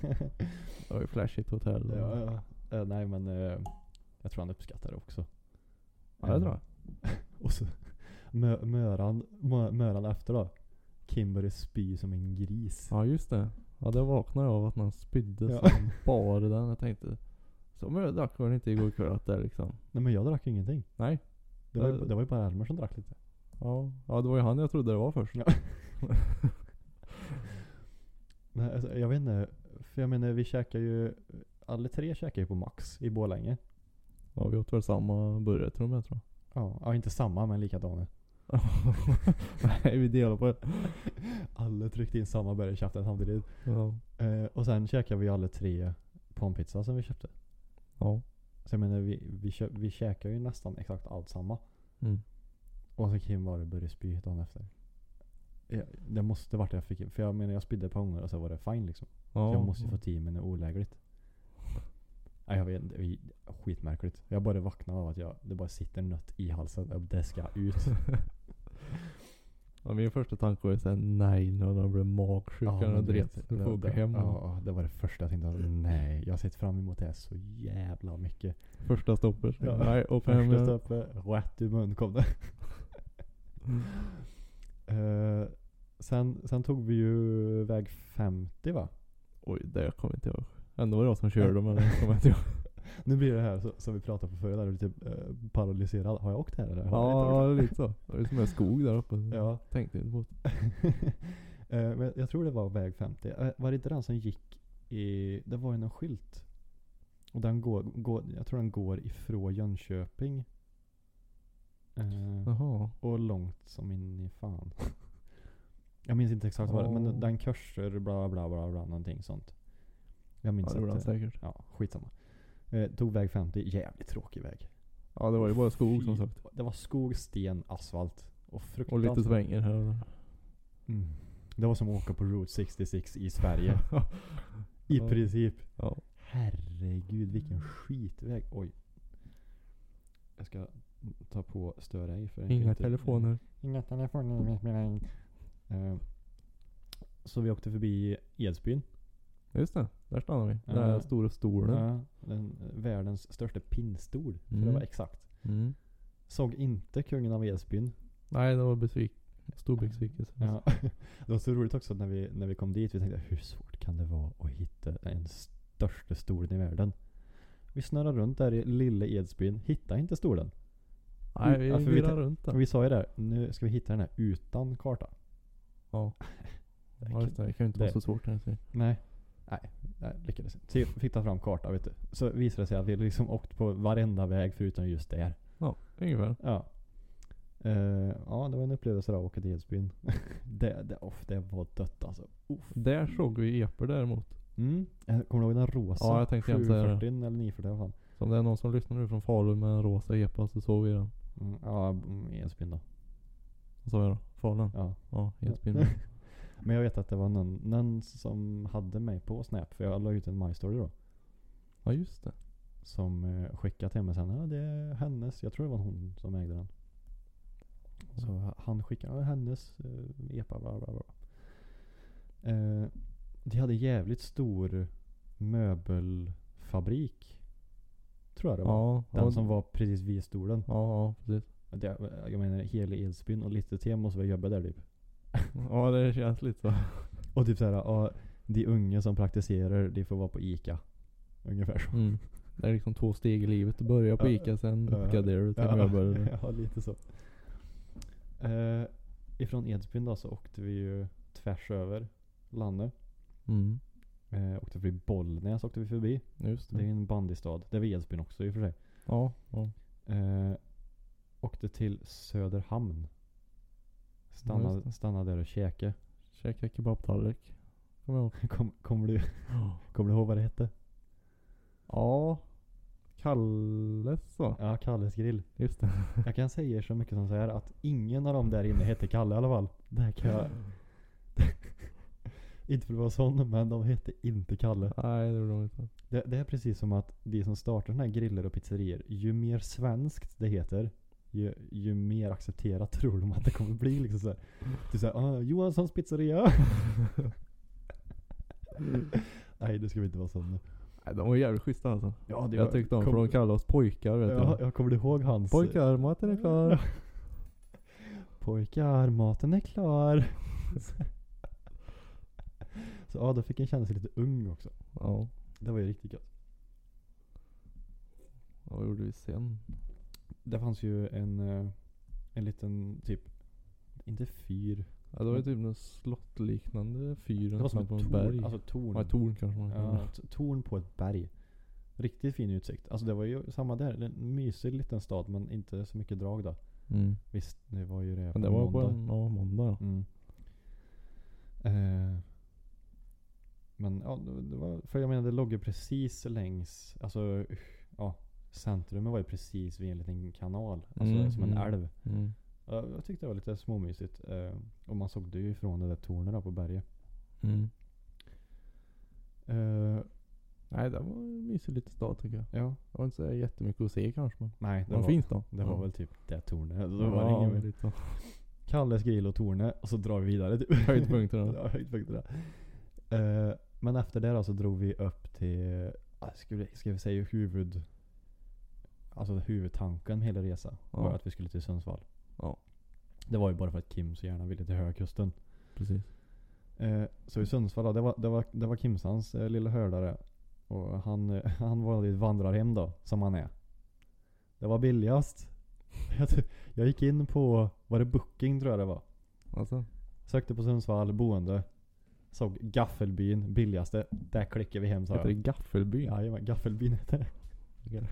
Speaker 1: Det var ju flashigt hotell. Och,
Speaker 2: ja, ja. Eh, Nej men eh, jag tror han uppskattar det också.
Speaker 1: ja, det tror jag.
Speaker 2: Och så mö, möran, mö, möran efter då. Kim började spy som en gris.
Speaker 1: Ja just det. Ja det vaknade jag av att man spydde
Speaker 2: Ja.
Speaker 1: som bara den. Jag tänkte. Som jag drack var det inte igår kväll att det är liksom.
Speaker 2: Nej men jag drack ingenting.
Speaker 1: Nej.
Speaker 2: Det var, ju,
Speaker 1: Eh.
Speaker 2: det var ju bara Elmer som drack lite.
Speaker 1: Ja. ja det var ju han jag trodde det var först.
Speaker 2: Ja. Nej, alltså, jag vet inte. För jag menar vi käkar ju, alla tre käkar ju på Max i Borlänge.
Speaker 1: Ja vi åt väl samma burgare tror jag tror
Speaker 2: Ja, ja inte samma men likadana.
Speaker 1: jag. Nej vi delar på det.
Speaker 2: Alla tryckte in samma burgare i käften samtidigt.
Speaker 1: Ja.
Speaker 2: Eh, och sen käkade vi alla tre pommes som vi köpte.
Speaker 1: Ja.
Speaker 2: Så jag menar vi, vi, kö- vi käkar ju nästan exakt allt samma.
Speaker 1: Mm.
Speaker 2: Och så Kim var det började spy dagen efter. Jag, det måste varit det jag fick För jag menar jag spydde ett par gånger och så var det fine liksom.
Speaker 1: ja.
Speaker 2: Så jag måste ju få timmen är olägligt. Nej jag vet inte, det är skitmärkligt. Jag bara vaknade av att jag, det bara sitter en nöt i halsen. och Det ska ut.
Speaker 1: ja, min första tanke var ju såhär nej nu har han blivit magsjuk. Han har
Speaker 2: men du
Speaker 1: dret.
Speaker 2: vet,
Speaker 1: Nu får jag
Speaker 2: det-
Speaker 1: åka hem.
Speaker 2: Ja, det var det första jag tänkte. att Nej, jag har sett fram emot det här så jävla mycket.
Speaker 1: Första stoppet.
Speaker 2: Ja.
Speaker 1: Nej åk hem.
Speaker 2: Första
Speaker 1: igen.
Speaker 2: stoppet, rätt i mun kom det.
Speaker 1: Mm.
Speaker 2: Eh, sen, sen tog vi ju väg 50 va?
Speaker 1: Oj det kommer inte jag ihåg. Ändå var det jag som körde men det kommer jag inte ihåg.
Speaker 2: Nu blir det här så, som vi pratade på förra, där du typ eh, paralyserad. Har jag åkt här eller? Har jag inte åkt
Speaker 1: Ja
Speaker 2: här?
Speaker 1: lite så. Det är som en skog där uppe.
Speaker 2: ja.
Speaker 1: Tänkte inte på det.
Speaker 2: Eh, men jag tror det var väg 50. Eh, Var det inte den som gick i... Det var ju någon skylt. Och den går, går, jag tror den går ifrån Jönköping. Eh,
Speaker 1: Jaha.
Speaker 2: och långt som in i fan. jag minns inte exakt vad det men
Speaker 1: Ja.
Speaker 2: den kurser bla bla bla bla någonting sånt. Jag minns
Speaker 1: Ja, det gjorde han
Speaker 2: inte.
Speaker 1: säkert.
Speaker 2: Ja, skitsamma. Eh, tog väg 50, jävligt tråkig väg.
Speaker 1: Ja det var ju bara skog
Speaker 2: Fy-
Speaker 1: som sagt.
Speaker 2: Det var skog, sten, asfalt. Och
Speaker 1: Och lite
Speaker 2: fruktansvärt.
Speaker 1: svänger här och där.
Speaker 2: Mm. Det var som att åka på Route 66 i Sverige. I
Speaker 1: Ja.
Speaker 2: princip.
Speaker 1: Ja.
Speaker 2: Herregud vilken skitväg. Oj. Jag ska ta på stör ej för jag kan
Speaker 1: Inga
Speaker 2: inte-
Speaker 1: telefoner.
Speaker 2: Inga telefoner. men- men- Eh, Så vi åkte förbi Edsbyn.
Speaker 1: Just det, där stannar vi. Den
Speaker 2: Ja.
Speaker 1: där stora stolen.
Speaker 2: Ja, den, eh, världens största pinnstol. För det
Speaker 1: Mm.
Speaker 2: var exakt.
Speaker 1: Mm.
Speaker 2: Såg inte kungen av Edsbyn.
Speaker 1: Nej det var besvik. Stor besvikelse.
Speaker 2: Ja. Det var så roligt också när vi, när vi kom dit. Vi tänkte hur svårt kan det vara att hitta den största stolen i världen? Vi snurrade runt där i lilla Edsbyn. Hittade inte stolen.
Speaker 1: Nej vi
Speaker 2: Ja, för vi
Speaker 1: virrar
Speaker 2: tar-
Speaker 1: runt
Speaker 2: Och
Speaker 1: där.
Speaker 2: vi sa ju där, nu ska vi hitta den här utan karta.
Speaker 1: Ja. Ja just det, det kan ju inte vara
Speaker 2: Det-
Speaker 1: så svårt här. så-
Speaker 2: Nej. Nej, nej lyckades inte. Så jag Fick ta fram karta vet du. Så visade det sig att vi liksom åkt på varenda väg förutom just där.
Speaker 1: Ja, ungefär.
Speaker 2: Ja. Eh, ja, det var en upplevelse där att åka till Edsbyn. det, det, off, det var dött alltså. Uff.
Speaker 1: Där såg vi epor däremot.
Speaker 2: Mm. Eh, Kommer du ihåg den rosa?
Speaker 1: Ja, jag tänkte jag säga det.
Speaker 2: 740 eller 940 i alla fall.
Speaker 1: Så om det är någon som lyssnar nu från Falun med en rosa epa så såg vi den.
Speaker 2: Mm, ja, mm, Edsbyn då.
Speaker 1: Vad sa jag då? Falun?
Speaker 2: Ja.
Speaker 1: Ja, Edsbyn.
Speaker 2: Men jag vet att det var någon, någon som hade mig på Snap, för jag la ut en My Story då.
Speaker 1: Ja just det.
Speaker 2: Som eh, skickade till mig sen, ja det är hennes, jag tror det var hon som ägde den. Så
Speaker 1: Mm.
Speaker 2: ha- han skickade, ja hennes eh, epa bla bla bla. Eh, de hade jävligt stor möbelfabrik. Tror jag det var.
Speaker 1: Ja, ja,
Speaker 2: Den som var precis vid stolen.
Speaker 1: ja, ja precis.
Speaker 2: Det, jag menar hela Edsbyn och lite till måste vi jobba där typ.
Speaker 1: Ja det känns lite så.
Speaker 2: Och typ såhär, ja, de unga som praktiserar, de får vara på ICA. Ungefär så.
Speaker 1: Mm. Det är liksom två steg i livet. Du börjar på
Speaker 2: Ja.
Speaker 1: Ica sen
Speaker 2: Ja.
Speaker 1: uppgraderar du till
Speaker 2: Ja,
Speaker 1: möbel.
Speaker 2: Ja, lite så. Eh, ifrån Edsbyn då så åkte vi ju tvärs över landet.
Speaker 1: Mm.
Speaker 2: Eh, åkte förbi Bollnäs åkte vi förbi.
Speaker 1: Just
Speaker 2: Det är ju
Speaker 1: det.
Speaker 2: en bandystad. Det var Edsbyn också i och för sig.
Speaker 1: Ja, ja.
Speaker 2: Eh, åkte till Söderhamn.
Speaker 1: Ja, just
Speaker 2: Stannade,
Speaker 1: det.
Speaker 2: stannade där och käkade.
Speaker 1: Käka kebabtallrik. Kommer jag ihåg.
Speaker 2: Kom, kommer du, kommer du ihåg vad det hette?
Speaker 1: Ja. Kalles va?
Speaker 2: Ja, Kalles grill.
Speaker 1: Just det.
Speaker 2: Jag kan säga er så mycket som så här att ingen av dem där inne hette Kalle i alla fall. Det här kan jag... inte för att vara sån, men de hette inte Kalle.
Speaker 1: Nej det gjorde de inte.
Speaker 2: Det, det är precis som att de som startar såna här griller och pizzerier, ju mer svenskt det heter, ju, ju mer accepterat tror de att det kommer bli. Liksom så här. Du säger ah, Johanssons pizzeria. Nej, det ska vi inte vara sån.
Speaker 1: Nej de var jävligt schyssta alltså.
Speaker 2: Ja,
Speaker 1: jag tyckte om för de kallade oss pojkar vet
Speaker 2: ja,
Speaker 1: du.
Speaker 2: jag kommer du ihåg hans...
Speaker 1: Pojkar, maten är klar.
Speaker 2: Pojkar, maten är klar. Så ja, då fick jag känna sig lite ung också.
Speaker 1: Ja.
Speaker 2: Det var ju riktigt gött.
Speaker 1: ja. Vad gjorde vi sen?
Speaker 2: Det fanns ju en, eh, en liten typ, inte fyr.
Speaker 1: Ja, det var ju typ någon slottliknande fyr.
Speaker 2: Det var som ett
Speaker 1: på
Speaker 2: torn.
Speaker 1: en berg.
Speaker 2: Alltså torn.
Speaker 1: ja, ett torn Mm. kanske man kan
Speaker 2: Ja, ett torn på ett berg. Riktigt fin utsikt. Alltså det var ju samma där. En mysig liten stad men inte så mycket drag då.
Speaker 1: mm.
Speaker 2: Visst, det var ju det
Speaker 1: Men det var på en ja, måndag ja.
Speaker 2: Mm. Eh, men ja, det det var, för jag menar det låg ju precis längs, alltså ja, centrumet var ju precis vid en liten kanal. Alltså
Speaker 1: Mm,
Speaker 2: som en
Speaker 1: mm.
Speaker 2: älv.
Speaker 1: Mm.
Speaker 2: Ja, jag tyckte det var lite småmysigt. Eh, och man såg det ju ifrån det där tornet då på berget.
Speaker 1: Mm.
Speaker 2: Eh,
Speaker 1: Nej det var en mysig liten stad tycker jag.
Speaker 2: ja,
Speaker 1: Det var inte så jättemycket att se kanske men.
Speaker 2: nej
Speaker 1: Det
Speaker 2: det
Speaker 1: var
Speaker 2: var,
Speaker 1: fint då.
Speaker 2: det var väl typ det tornet. Alltså, det
Speaker 1: Ja,
Speaker 2: var ingen mer.
Speaker 1: lite så.
Speaker 2: Kalles grill och tornet och så drar vi vidare typ.
Speaker 1: Höjdpunkterna.
Speaker 2: Ja, höjdpunkterna. Eh, men efter det då så drog vi upp till, uh, ska, vi, ska vi säga huvud... Alltså huvudtanken med hela resan
Speaker 1: Ja.
Speaker 2: var att vi skulle till Sundsvall.
Speaker 1: Ja.
Speaker 2: Det var ju bara för att Kim så gärna ville till Höga Kusten.
Speaker 1: Precis.
Speaker 2: Eh, så i Sundsvall då, det var, det var, det var Kimsans eh, lilla hördare. Och han, eh, han valde ett vandrarhem då, som han är. Det var billigast. Jag, t- jag gick in på, var det Booking tror jag det var?
Speaker 1: Alltså.
Speaker 2: Sökte på Sundsvall, boende. Såg Gaffelbyn, billigaste. Där klickar vi hem sa
Speaker 1: Heter det
Speaker 2: jag.
Speaker 1: Gaffelbyn?
Speaker 2: Jajamän, Gaffelbyn heter det.
Speaker 1: Okej.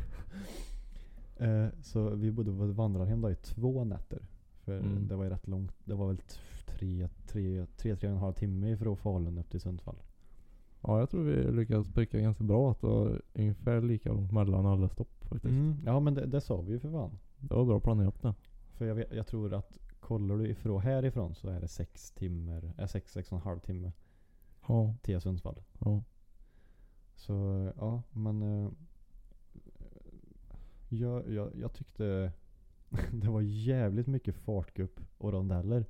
Speaker 2: Eh, så vi bodde på ett vandrarhem då i två nätter. För
Speaker 1: Mm.
Speaker 2: det var ju rätt långt. Det var väl t- tre, tre, tre, tre och en halv timme från Falun upp till Sundsvall.
Speaker 1: Ja jag tror vi lyckades pricka ganska bra att det var ungefär lika långt mellan alla stopp faktiskt.
Speaker 2: Ja men det, det sa vi ju för fan.
Speaker 1: Det var bra planerat det.
Speaker 2: För jag, vet, jag tror att kollar du ifrån härifrån så är det sex timmar, äh, sex, sex och en halv timme
Speaker 1: Ja.
Speaker 2: till Sundsvall.
Speaker 1: Ja.
Speaker 2: Så eh, ja, men eh, jag, jag, jag tyckte det var jävligt mycket fartgupp och rondeller.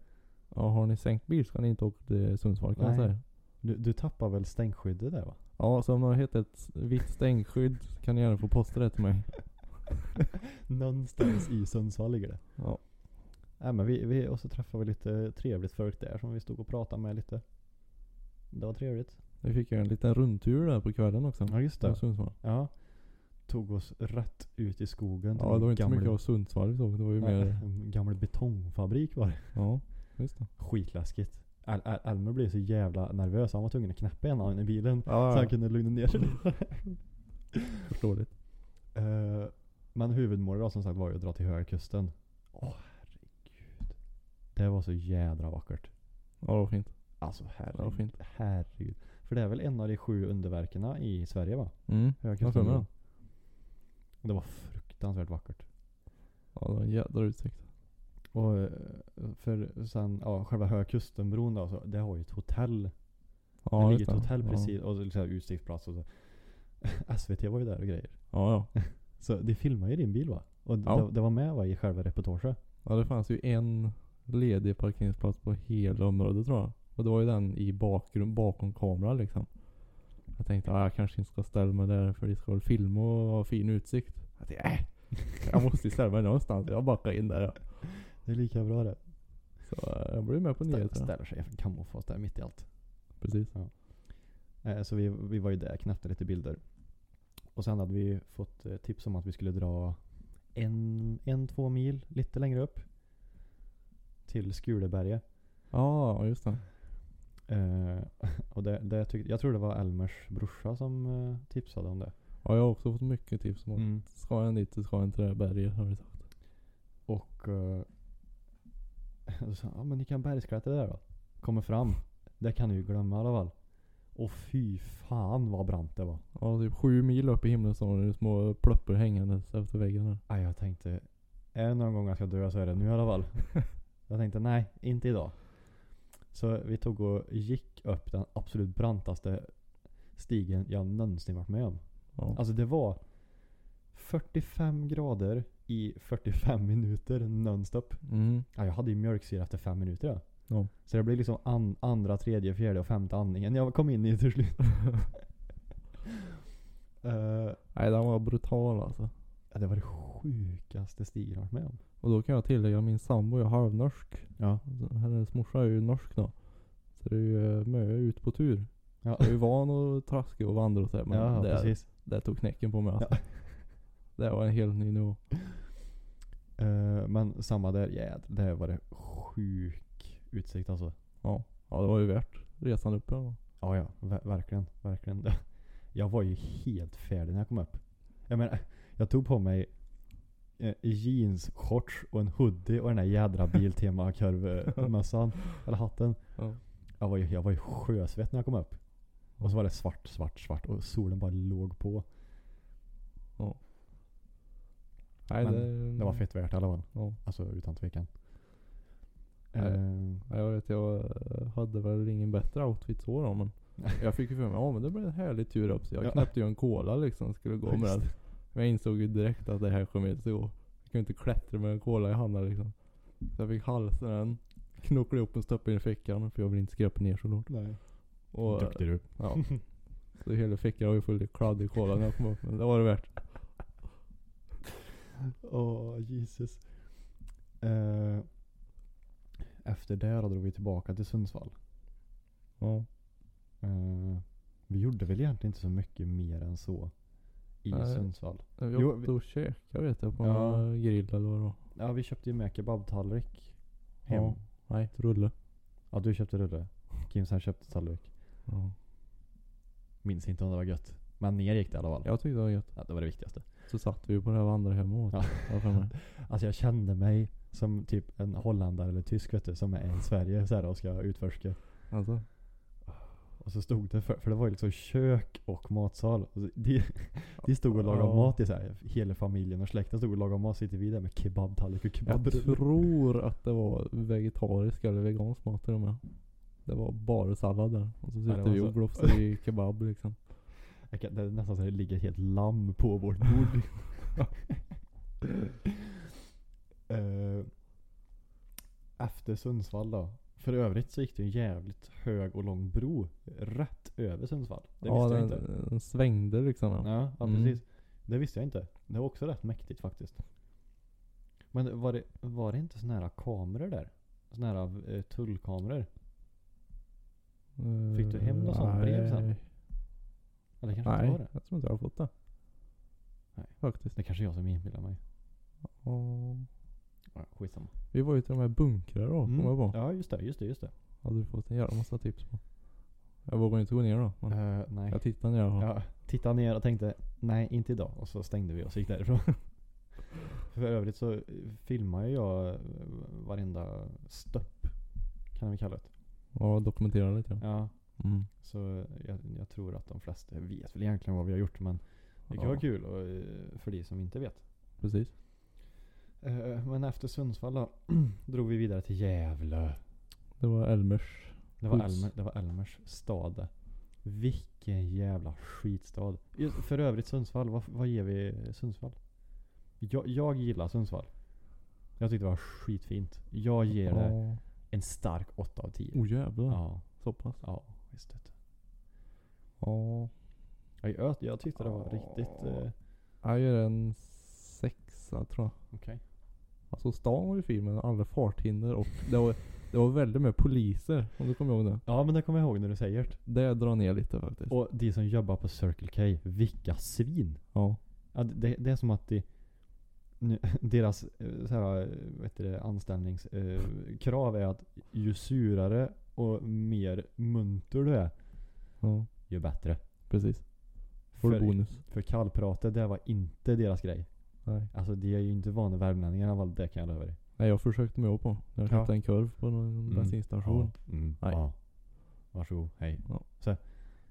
Speaker 1: ja har ni sänkt bil ska ni inte åka till Sundsvall kan jag
Speaker 2: Nej.
Speaker 1: säga.
Speaker 2: Du, du tappar väl stänkskyddet där va?
Speaker 1: Ja så om ni har hittat ett vitt stänkskydd kan ni gärna få posta det till mig.
Speaker 2: Någonstans i Sundsvall ligger det.
Speaker 1: Ja.
Speaker 2: Nej, men vi, vi, och så träffade vi lite trevligt folk där som vi stod och pratade med lite. Det var trevligt.
Speaker 1: Vi fick ju en liten rundtur där på kvällen också.
Speaker 2: Ja just
Speaker 1: Från Sundsvall.
Speaker 2: Ja. Tog oss rätt ut i skogen. till
Speaker 1: Ja det
Speaker 2: en
Speaker 1: var inte så
Speaker 2: gammal-
Speaker 1: mycket av Sundsvall vi såg. Det var ju
Speaker 2: Nej,
Speaker 1: mer,
Speaker 2: en Gammal betongfabrik var det.
Speaker 1: ja just det.
Speaker 2: Skitläskigt. Al- Al- Almer blev så jävla nervös. Han var tvungen att knäppa en annan i bilen. Så
Speaker 1: Ja,
Speaker 2: han kunde lugna ner sig lite.
Speaker 1: förståeligt.
Speaker 2: Eh, Men huvudmålet då, som sagt var ju att dra till Höga Kusten. Åh herregud. Det var så jädra vackert.
Speaker 1: Ja det var fint.
Speaker 2: Alltså
Speaker 1: Det var
Speaker 2: herregud.
Speaker 1: fint.
Speaker 2: herregud. För det är väl en av de sju underverkerna i Sverige va?
Speaker 1: Mm.
Speaker 2: Höga
Speaker 1: Jag har för mig
Speaker 2: kusten. Det var fruktansvärt vackert.
Speaker 1: Ja, Ja, det var en jädra utsikt.
Speaker 2: Och eh, för sen, ja, själva Höga Kustenbron då, så, det har ju ett hotell.
Speaker 1: Ja,
Speaker 2: det
Speaker 1: vet
Speaker 2: ligger ett
Speaker 1: du.
Speaker 2: hotell
Speaker 1: ja.
Speaker 2: precis, och så liksom utsiktsplats och så. SVT var ju där och grejer.
Speaker 1: Ja, ja.
Speaker 2: Så de filmade ju din bil va? Och d-
Speaker 1: Ja.
Speaker 2: det, det var med va, i själva reportaget?
Speaker 1: Ja det fanns ju en ledig parkeringsplats på hela området tror jag. Och det var ju den i bakgrund, bakom kameran liksom. Jag tänkte ah, jag kanske inte ska ställa mig där för det ska väl filma och ha fin utsikt. Jag tänkte, äh, jag måste ju ställa mig någonstans. Jag backar in där ja.
Speaker 2: Det är lika bra det.
Speaker 1: Så eh, jag blev med på
Speaker 2: Ställer,
Speaker 1: nyheterna.
Speaker 2: ställer sig i kamouflage där mitt i allt.
Speaker 1: Precis.
Speaker 2: Eh, så vi, vi var ju där, knäppte lite bilder. Och sen hade vi fått eh, tips om att vi skulle dra en, en två mil lite längre upp. Till Skuleberget.
Speaker 1: Ja just det.
Speaker 2: Eh, och det, det tyck, jag tror det var Elmers brorsa som eh, tipsade om det.
Speaker 1: Ja jag har också fått mycket tips
Speaker 2: Mm.
Speaker 1: om att ska en dit så ska en till det här berget har vi sagt.
Speaker 2: Och eh, så sa han, ja men ni kan bergsklättra där då. Kommer fram. Det kan du ju glömma i alla fall. Och fy fan vad brant det var.
Speaker 1: Ja typ sju mil upp i himlen så har du små pluppor hängandes efter väggen där.
Speaker 2: Aj, jag tänkte, är det någon gång jag ska dö så är det nu i alla fall. jag tänkte nej, inte idag. Så vi tog och gick upp den absolut brantaste stigen jag någonsin varit med om.
Speaker 1: Ja.
Speaker 2: Alltså det var 45 grader i 45 minuter nonstop.
Speaker 1: Mm.
Speaker 2: Ja, jag hade ju mjölksyra efter fem minuter ja.
Speaker 1: Ja.
Speaker 2: Så det blev liksom an, andra, tredje, fjärde och femte andningen jag kom in i till slut. Eh,
Speaker 1: Nej den var brutal alltså.
Speaker 2: ja, det var det sjukaste stigen jag varit med om.
Speaker 1: Och då kan jag tillägga min sambo är halvnorsk.
Speaker 2: Ja.
Speaker 1: Så Hennes morsa är ju norsk då. Så det är ju eh, mycket ut på tur.
Speaker 2: Ja.
Speaker 1: Jag är ju van att traska och vandra och så här, men
Speaker 2: ja,
Speaker 1: det,
Speaker 2: precis.
Speaker 1: det tog knäcken på mig alltså. Det var en helt ny nivå.
Speaker 2: Eh, men samma där, jädrar. Det var det sjuk utsikt alltså.
Speaker 1: Ja. ja, det var ju värt resan upp. Ja.
Speaker 2: Ja, ja. Ver- verkligen. Verkligen. Det- Jag var ju helt färdig när jag kom upp. Jag menar, jag tog på mig eh, jeans, shorts och en hoodie och den där jädra Biltema-korvmössan. eller hatten.
Speaker 1: Ja.
Speaker 2: Jag var ju, jag var ju sjösvett när jag kom upp. Och så var det svart, svart, svart och solen bara låg på.
Speaker 1: Nej,
Speaker 2: Men
Speaker 1: det,
Speaker 2: Det var fett värt i alla fall.
Speaker 1: Mm. Ja.
Speaker 2: Alltså utan tvekan.
Speaker 1: Nej.
Speaker 2: Eh,
Speaker 1: Ja, jag vet, jag eh, hade väl ingen bättre outfit så då men. Jag fick ju för mig, ja men det blev en härlig tur upp. Så jag
Speaker 2: Ja.
Speaker 1: knäppte ju en cola liksom, skulle gå med
Speaker 2: Just
Speaker 1: den. Men jag insåg ju direkt att det här kommer inte att gå. Jag kunde inte klättra med en cola i handen liksom. Så jag fick halsen den, knocklade ihop och stoppade in i fickan för jag vill inte skräpa ner så långt.
Speaker 2: Nej.
Speaker 1: Och,
Speaker 2: Duktig du.
Speaker 1: Ja. Så hela fickan var ju full av kladdig cola när jag kom upp. Men det var det värt.
Speaker 2: Åh, Jesus. Eh, efter det då drog vi tillbaka till Sundsvall.
Speaker 1: Ja.
Speaker 2: Eh, vi gjorde väl egentligen inte så mycket mer än så. I
Speaker 1: Nej.
Speaker 2: Sundsvall.
Speaker 1: Vi
Speaker 2: Jo,
Speaker 1: åkte och käkade vet jag på
Speaker 2: Ja.
Speaker 1: en grill eller vad det var.
Speaker 2: Ja, vi köpte ju med kebabtallrik hem.
Speaker 1: Ja.
Speaker 2: Ja.
Speaker 1: Nej, rulle.
Speaker 2: du köpte rulle. Kim sen köpte tallrik.
Speaker 1: Ja.
Speaker 2: Minns inte om det var gött. Men ner gick det i alla fall.
Speaker 1: Jag tyckte det var gött.
Speaker 2: Ja, det var det viktigaste.
Speaker 1: Så satt vi ju på det här vandrarhemmet och åt.
Speaker 2: Ja.
Speaker 1: Ja. för mig.
Speaker 2: Alltså jag kände mig som typ en holländare eller tysk vet du, som är i Sverige så här, och ska utforska.
Speaker 1: Alltså.
Speaker 2: Och så stod det, för, för det var ju liksom kök och matsal. Och så- De, de stod och lagade
Speaker 1: Ja.
Speaker 2: mat i så här, hela familjen och släkten stod och lagade mat. Sitter vi där med kebabtallrik och
Speaker 1: Jag
Speaker 2: kebabrulle.
Speaker 1: tror att det var vegetarisk eller vegansk mat till och med. Det var bara sallad där. Och så
Speaker 2: det
Speaker 1: sitter
Speaker 2: var
Speaker 1: vi
Speaker 2: så.
Speaker 1: och glofsar i kebab liksom.
Speaker 2: Jag kan- Det är nästan så att det ligger ett helt lamm på vårt bord. Eh, efter Sundsvall då. För övrigt så gick det en jävligt hög och lång bro rätt över Sundsvall. Det
Speaker 1: ja,
Speaker 2: visste jag
Speaker 1: den,
Speaker 2: inte.
Speaker 1: den svängde liksom. Ja.
Speaker 2: Ja, ja
Speaker 1: Mm.
Speaker 2: precis. Det visste jag inte. Det var också rätt mäktigt faktiskt. Men var det, var det inte såna här kameror där? Såna här eh, tullkameror?
Speaker 1: Eh,
Speaker 2: Fick du hem något sånt brev sen?
Speaker 1: Nej,
Speaker 2: Eller kanske inte
Speaker 1: nej
Speaker 2: var det?
Speaker 1: jag tror inte jag har fått det.
Speaker 2: Nej.
Speaker 1: Faktiskt.
Speaker 2: Det kanske är jag som inbillar mig.
Speaker 1: Ja.
Speaker 2: Ja, skitsamma. Mm.
Speaker 1: Vi var ju till de här bunkrarna då, kommer jag på.
Speaker 2: Ja just det, just det, just det.
Speaker 1: Hade du fått en jävla massa tips på. Jag vågar ju inte gå ner då. Men
Speaker 2: Eh, nej.
Speaker 1: Jag tittade ner. Ja.
Speaker 2: Ja, tittade ner och tänkte nej inte idag. Och så stängde vi och så gick därifrån. För övrigt så eh, filmar ju jag eh, varenda stopp. Kan vi kalla det.
Speaker 1: ja, dokumenterade lite. Ja.
Speaker 2: Ja.
Speaker 1: Mm.
Speaker 2: Så eh, jag, jag tror att de flesta vet väl egentligen vad vi har gjort men Det kan
Speaker 1: Ja,
Speaker 2: vara kul och, eh, för de som inte vet.
Speaker 1: Precis.
Speaker 2: Eh, men efter Sundsvall då, drog vi vidare till Gävle.
Speaker 1: Det var Elmers.
Speaker 2: Det var,
Speaker 1: Skjuts.
Speaker 2: Elmer, det var Elmers stad. det. Vilken jävla skitstad. Just, för övrigt Sundsvall, vad, vad ger vi Sundsvall? Jag, jag gillar Sundsvall. Jag tyckte det var skitfint. Jag ger det
Speaker 1: Ja.
Speaker 2: en stark 8 av 10.
Speaker 1: Oh jävlar.
Speaker 2: Ja,
Speaker 1: Så pass.
Speaker 2: ja visst vet du.
Speaker 1: Ja.
Speaker 2: Ja, Jag, jag tyckte det var riktigt... Eh,
Speaker 1: Jag gör en sexa tror jag.
Speaker 2: Okej.
Speaker 1: Alltså stan var ju fin men alla farthinder och det var, det var väldigt med poliser. Om du kommer ihåg det.
Speaker 2: Ja men det kommer jag ihåg när du säger det.
Speaker 1: Det drar ner lite faktiskt.
Speaker 2: Och de som jobbar på Circle K, vilka svin!
Speaker 1: Ja.
Speaker 2: Ja, det- det, det är som att de, nu, deras eh, så här, eh, vad heter det, anställningskrav är att ju surare och mer munter du är,
Speaker 1: ja.
Speaker 2: ju bättre.
Speaker 1: Precis. Får du
Speaker 2: För,
Speaker 1: bonus.
Speaker 2: för kallpratet, det var inte deras grej.
Speaker 1: Nej.
Speaker 2: Alltså de är ju inte vana värmlänningar i alla fall, det kan jag lova dig.
Speaker 1: Nej jag försökte mig också på. Jag
Speaker 2: Ja. Mm.
Speaker 1: köpte en kurv på någon bensinstation.
Speaker 2: Ja, mm,
Speaker 1: Nej.
Speaker 2: ja. Varsågod, hej.
Speaker 1: Ja.
Speaker 2: Så,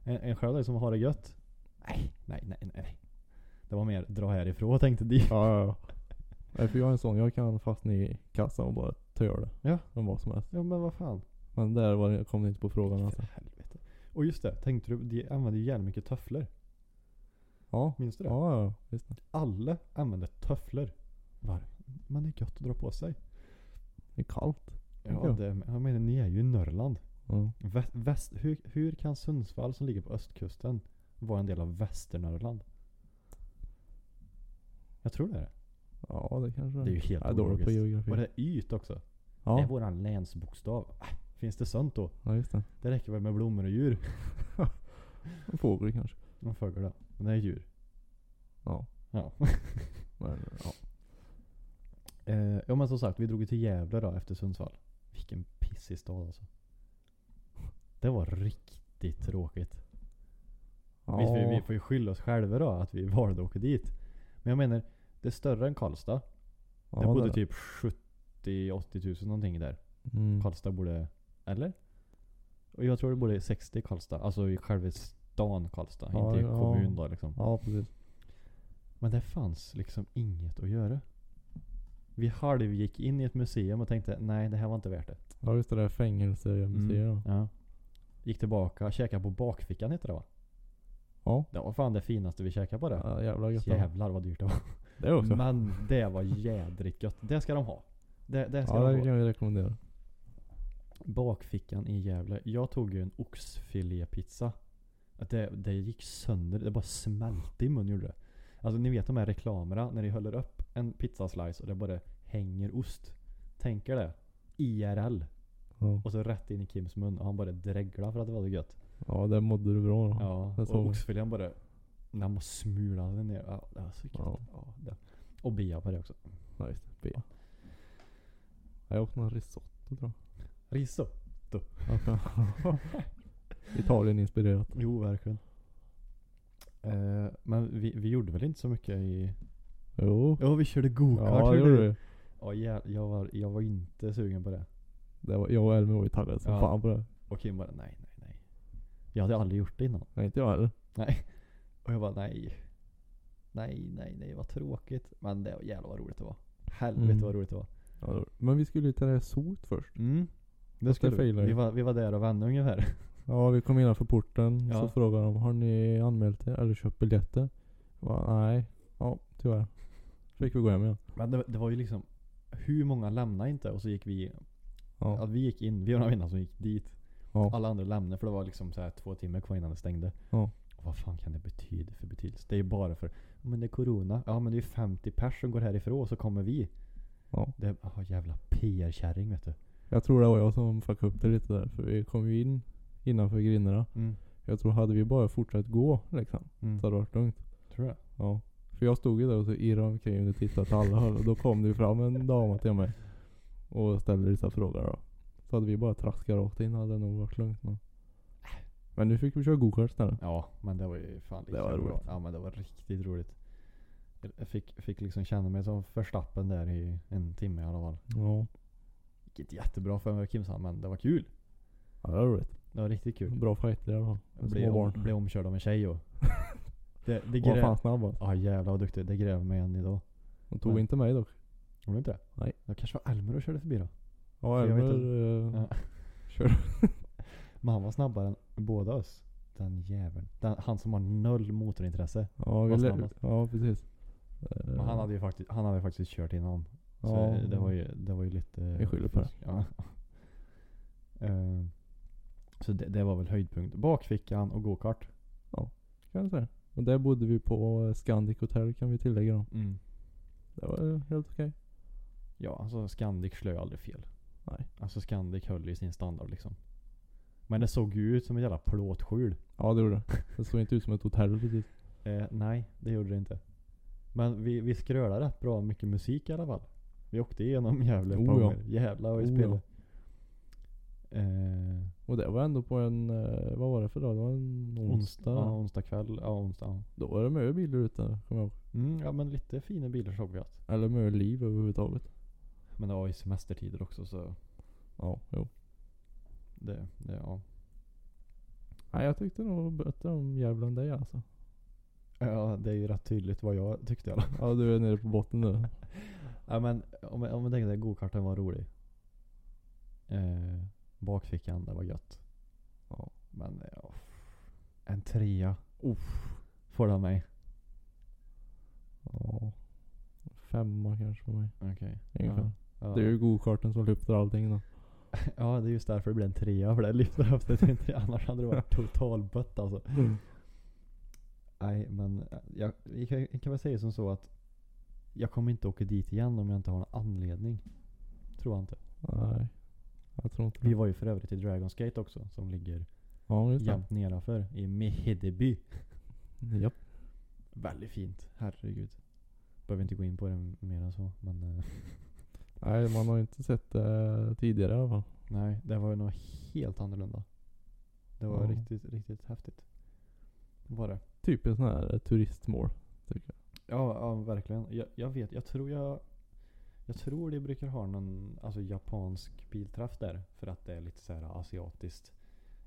Speaker 2: en, en själv där som har det gött? Nej, nej, nej, nej. nej. Det var mer dra härifrån tänkte de.
Speaker 1: Ja, ja, ja. För jag är en sån, jag kan fastna i kassan och bara töla.
Speaker 2: Ja.
Speaker 1: Om vad som helst.
Speaker 2: Ja men vad fan.
Speaker 1: Men där var det, kom det inte på frågan alltså.
Speaker 2: För helvete. Och just det, tänkte du, de använde ju jävligt mycket tofflor.
Speaker 1: Ja.
Speaker 2: Minns du det?
Speaker 1: Ja, ja, visst.
Speaker 2: Alla använde tofflor. Var? Men det är gött att dra på sig.
Speaker 1: Det är kallt.
Speaker 2: Ja,
Speaker 1: Ja.
Speaker 2: Det, jag menar ni är ju i Norrland.
Speaker 1: Ja.
Speaker 2: Väst, väst, hur, hur kan Sundsvall som ligger på östkusten vara en del av Västernorrland? Jag tror det är det.
Speaker 1: ja, det kanske
Speaker 2: Det är ju helt
Speaker 1: Jag är dålig på
Speaker 2: ologiskt.
Speaker 1: geografi.
Speaker 2: Och det är yt också. Det är
Speaker 1: ja.
Speaker 2: våran länsbokstav. Äh, Finns det sånt då?
Speaker 1: ja, just det.
Speaker 2: Det räcker väl med blommor och djur?
Speaker 1: En fågel kanske.
Speaker 2: Man fågel då. Men det är djur.
Speaker 1: Ja.
Speaker 2: Ja.
Speaker 1: Men, ja.
Speaker 2: Eh, ja men som sagt, vi drog ju till Gävle då efter Sundsvall. Vilken pissig stad alltså. Det var riktigt tråkigt.
Speaker 1: Ja.
Speaker 2: Visst, vi, vi får ju skylla oss själva då att vi valde att åka dit. Men jag menar, det är större än Karlstad.
Speaker 1: ja,
Speaker 2: det bodde
Speaker 1: där.
Speaker 2: typ 70-80 tusen någonting där.
Speaker 1: Mm.
Speaker 2: Karlstad borde, eller? Och jag tror det borde 60 i Karlstad. Alltså i själva stan Karlstad.
Speaker 1: Ja,
Speaker 2: inte i
Speaker 1: ja.
Speaker 2: kommun då liksom.
Speaker 1: Ja, precis.
Speaker 2: Men det fanns liksom inget att göra. Vi halvgick in i ett museum och tänkte nej det här var inte värt det.
Speaker 1: Ja, just det där fängelsemuseet.
Speaker 2: Mm,
Speaker 1: ja.
Speaker 2: ja. Gick tillbaka, käkade på bakfickan heter det va?
Speaker 1: Ja.
Speaker 2: Det var fan det finaste vi käkade på det.
Speaker 1: ja. Jävla gött. alltså.
Speaker 2: Jävlar vad dyrt det var.
Speaker 1: Det också.
Speaker 2: Men det var jädrigt gött. Det ska de ha. Det, det ska
Speaker 1: Ja,
Speaker 2: de
Speaker 1: det
Speaker 2: ha.
Speaker 1: kan vi rekommendera.
Speaker 2: Bakfickan i Gävle. Jag tog ju en oxfilépizza. Att Det, det gick sönder. Det bara smälte i munnen gjorde det. Alltså ni vet de här reklamerna när de håller upp en pizzaslice och det bara hänger ost. Tänk er det. IRL.
Speaker 1: Ja.
Speaker 2: Och så rätt in i Kims mun och han bara dregla för att det var så gött.
Speaker 1: ja, där mådde du bra då.
Speaker 2: Ja,
Speaker 1: det såg
Speaker 2: och
Speaker 1: vi.
Speaker 2: oxfilén bara... När man smulade ner. Ja, det var så gött. Ja.
Speaker 1: Ja.
Speaker 2: det. Och bia på det också.
Speaker 1: Ja, just det. B. Jag åt någon risotto tror jag.
Speaker 2: Riso.
Speaker 1: Okej. Italien inspirerat.
Speaker 2: Jo, verkligen. Eh, men vi, vi gjorde väl inte så mycket i...
Speaker 1: Jo.
Speaker 2: Ja, vi körde go-kart.
Speaker 1: Ja, det
Speaker 2: gjorde
Speaker 1: gjorde
Speaker 2: vi.
Speaker 1: du.
Speaker 2: Ja, jä- jag, var, jag var inte sugen på det.
Speaker 1: Det var, jag och Elmer var ju taggade som
Speaker 2: Ja.
Speaker 1: fan på det.
Speaker 2: Och Kim bara nej, nej, nej. Jag hade aldrig gjort det innan.
Speaker 1: Nej, inte jag heller.
Speaker 2: Nej. Och jag bara nej. Nej, nej, nej. Vad tråkigt. Men det var jävlar vad roligt det var. Helvete
Speaker 1: Mm.
Speaker 2: vad roligt det var.
Speaker 1: Ja, det var- Men vi skulle ju till det här sot först.
Speaker 2: Mm. Det
Speaker 1: det
Speaker 2: skulle vi.
Speaker 1: failar ju.
Speaker 2: Vi var, vi var där och vände ungefär.
Speaker 1: Ja, vi kom innanför porten.
Speaker 2: Ja.
Speaker 1: Så frågade de, har ni anmält er eller köpt biljetter? Jag bara, nej. Ja, tyvärr. Fick vi gå hem igen.
Speaker 2: Men det, det var ju liksom, hur många lämnade inte? Och så gick vi,
Speaker 1: Ja.
Speaker 2: att vi gick in, vi var några innan som gick dit.
Speaker 1: Ja.
Speaker 2: Alla andra lämnade för det var liksom så här två timmar kvar innan det stängde.
Speaker 1: Ja.
Speaker 2: Och vad fan kan det betyda för betydelse? Det är ju bara för, "Ja, men det är corona. Ja men det är ju 50 pers som går härifrån och så kommer vi.
Speaker 1: ja.
Speaker 2: Det är, ah, jävla PR-kärring vet du.
Speaker 1: Jag tror det var jag som fuckade upp det lite där. För vi kom ju in innanför grindarna.
Speaker 2: Mm.
Speaker 1: Jag tror hade vi bara fortsatt gå liksom.
Speaker 2: Mm.
Speaker 1: Så hade det varit lugnt.
Speaker 2: Tror jag.
Speaker 1: Ja. För jag stod ju där och så irrade omkring och tittade till alla håll. Och då kom det ju fram en dam till mig. Och ställde lite frågor då. Så hade vi bara traskat rakt in hade det nog varit lugnt. Men, men nu fick vi köra gokart istället.
Speaker 2: Ja men det var ju fan
Speaker 1: Det var
Speaker 2: bra.
Speaker 1: roligt.
Speaker 2: Ja men det var riktigt roligt. Jag fick, fick liksom känna mig som förstappen där i en timme i alla fall.
Speaker 1: Ja.
Speaker 2: Gick inte jättebra för mig och Kimsan men det var kul.
Speaker 1: Ja det var roligt.
Speaker 2: Det var riktigt kul.
Speaker 1: Bra fighter i alla fall. Med
Speaker 2: Blev,
Speaker 1: små
Speaker 2: om,
Speaker 1: barn.
Speaker 2: blev omkörd av en tjej och... Det, det
Speaker 1: Var
Speaker 2: gräver...
Speaker 1: fan snabb alltså.
Speaker 2: Ja jävlar vad duktig. Det gräver mig än idag.
Speaker 1: De tog inte mig dock.
Speaker 2: Gjorde du inte det?
Speaker 1: Nej.
Speaker 2: Det kanske var Elmer och körde förbi då.
Speaker 1: Ja,
Speaker 2: För jag vet
Speaker 1: Elmer eh, kör.
Speaker 2: Men han var snabbare än båda oss. Den jäveln. Den, han som har noll motorintresse.
Speaker 1: Ja, vi
Speaker 2: Vad
Speaker 1: lär-
Speaker 2: snabbast?
Speaker 1: ja precis.
Speaker 2: Men
Speaker 1: Eh,
Speaker 2: han hade ju faktiskt, han hade faktiskt kört innan.
Speaker 1: ja,
Speaker 2: Så det var ju, det var ju lite...
Speaker 1: Jag skyller på det.
Speaker 2: Ja. Eh, Så det, det var väl höjdpunkt. Bakfickan och gokart.
Speaker 1: Kan jag säga. Och där bodde vi på eh, Scandic Hotel kan vi tillägga då. Det var eh, helt okej.
Speaker 2: Ja, alltså Scandic slår ju aldrig fel.
Speaker 1: Nej.
Speaker 2: Alltså Scandic höll ju sin standard liksom. Men det såg ju ut som ett jävla plåtskjul.
Speaker 1: Ja det gjorde det. Det såg inte ut som ett hotell precis.
Speaker 2: Eh, nej, det gjorde det inte. Men vi, vi skrölade rätt bra mycket musik i alla fall. Vi åkte igenom Gävle ett
Speaker 1: Oh ja.
Speaker 2: par gånger. Jävlar vad vi
Speaker 1: Oh
Speaker 2: spelade. Eh,
Speaker 1: Och det var ändå på en, eh, vad var det för dag? Det var en onsdag.
Speaker 2: Ja, onsdag kväll. Ja, onsdag. ja.
Speaker 1: Då var det mycket bilar ute kommer jag ihåg.
Speaker 2: Mm, ja men lite fina bilar såg vi att.
Speaker 1: Eller mycket liv överhuvudtaget.
Speaker 2: Men det var ju semestertider också så
Speaker 1: Ja, jo.
Speaker 2: det, det ja.
Speaker 1: Nej jag tyckte nog bättre om Gävle än dig alltså.
Speaker 2: Ja det är ju rätt tydligt vad jag tyckte i alla fall.
Speaker 1: Ja du är nere på botten nu.
Speaker 2: Ja men om, jag- om man tänker sig gokarten var rolig. Eh, bakfickan, det var gött.
Speaker 1: Ja.
Speaker 2: Men eh, ja. En trea. Får det av mig.
Speaker 1: Ja. Femma kanske för mig.
Speaker 2: Okej.
Speaker 1: Ungefär.
Speaker 2: Ja.
Speaker 1: Det är ju gokarten som lyfter allting då.
Speaker 2: ja det är just därför det blev en trea. För det lyfter upp det till en trea. Annars hade det varit totalbött alltså. Nej men eh, jag, jag kan- jag kan väl säga som så att jag kommer inte åka dit igen om jag inte har en anledning. Tror jag inte.
Speaker 1: Nej. Jag tror inte
Speaker 2: Vi
Speaker 1: det.
Speaker 2: var ju för övrigt i Dragon's Gate också som ligger
Speaker 1: Ja just det.
Speaker 2: jämt nedanför i Mehedeby.
Speaker 1: Japp.
Speaker 2: Väldigt fint. Herregud. Behöver inte gå in på det mer än så. Men eh,
Speaker 1: Nej man har ju inte sett det tidigare i alla fall.
Speaker 2: nej, det var ju något helt annorlunda. Det var
Speaker 1: Ja.
Speaker 2: riktigt, riktigt häftigt. Var det?
Speaker 1: Typ ett sånt här eh, turistmål. Tycker
Speaker 2: Ja, ja verkligen. Jag, jag vet, jag tror jag... Jag tror de brukar ha någon alltså, japansk bilträff där. För att det är lite så här asiatiskt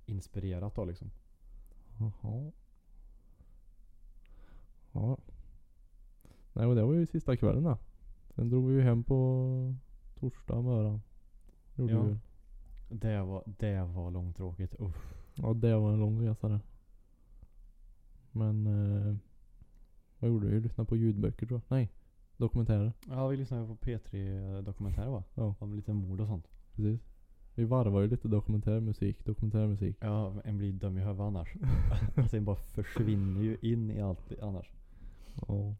Speaker 2: inspirerat då liksom.
Speaker 1: jag. Jaha. Ja. Nej och det var ju sista kvällen då. Sen drog vi ju hem på torsdag morgon. Gjorde
Speaker 2: Ja.
Speaker 1: vi väl.
Speaker 2: Det var, det var långtråkigt. Uff.
Speaker 1: Ja det var en lång resa det. Men eh, vad gjorde vi? Lyssnade på ljudböcker tror jag. Nej. Dokumentärer.
Speaker 2: Ja, vi lyssnade på P3-dokumentärer va?
Speaker 1: Ja.
Speaker 2: Om lite mord och sånt.
Speaker 1: Precis. Vi varvar ju lite dokumentärmusik, dokumentärmusik.
Speaker 2: Ja, men en blir dum i huvudet annars. alltså en bara försvinner ju in i allt annars.
Speaker 1: Ja.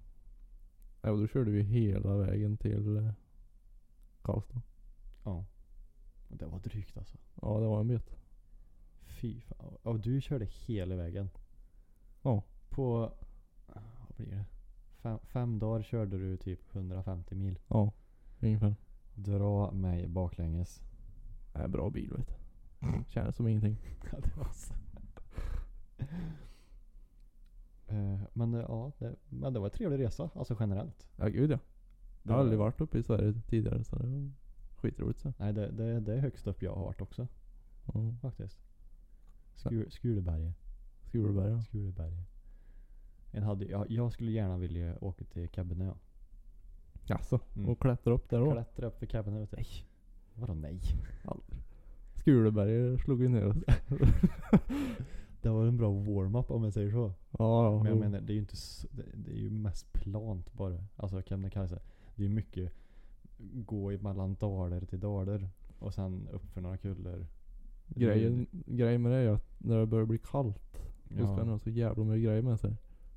Speaker 1: Ja, och då körde vi hela vägen till eh, Karlstad.
Speaker 2: Ja. Och Det var drygt alltså.
Speaker 1: Ja, det var en bit.
Speaker 2: Fy fan. Och du körde hela vägen.
Speaker 1: Ja.
Speaker 2: På, vad blir det? Fem, fem dagar körde du typ 150 mil.
Speaker 1: Ja, ungefär.
Speaker 2: Dra mig baklänges.
Speaker 1: Nej, bra bil vet du. Kändes som ingenting.
Speaker 2: Ja, det var så. Eh, men eh, ja, det, men det var en trevlig resa. Alltså generellt.
Speaker 1: Ja, gud ja.
Speaker 2: Det
Speaker 1: Jag har
Speaker 2: var-
Speaker 1: aldrig varit uppe i Sverige tidigare så det var skitroligt så.
Speaker 2: Nej, det, det, det är högst upp jag har varit också
Speaker 1: Ja.
Speaker 2: faktiskt. Skur, Skuleberget.
Speaker 1: Skuleberg ja.
Speaker 2: Skuleberg. En hade, jag, jag skulle gärna vilja åka till Cabernet.
Speaker 1: Jaså?
Speaker 2: Mm.
Speaker 1: Och klättra upp där då?
Speaker 2: Klättra upp för typ. Cabernet vet du. Nej. Vadå nej?
Speaker 1: Skuleberg slog ju ner oss.
Speaker 2: Det var en bra warm-up om jag säger så.
Speaker 1: Ja, ja.
Speaker 2: Men jag
Speaker 1: jo.
Speaker 2: menar det är ju inte s- det, det är ju mest plant bara. Alltså Kebnekaise. Det är ju mycket gå i mellan daler till daler. Och sen upp för några kullor.
Speaker 1: Grejen, grejen med det är ju att när det börjar bli kallt då ska
Speaker 2: Ja.
Speaker 1: man ha så jävla mycket grejer med sig.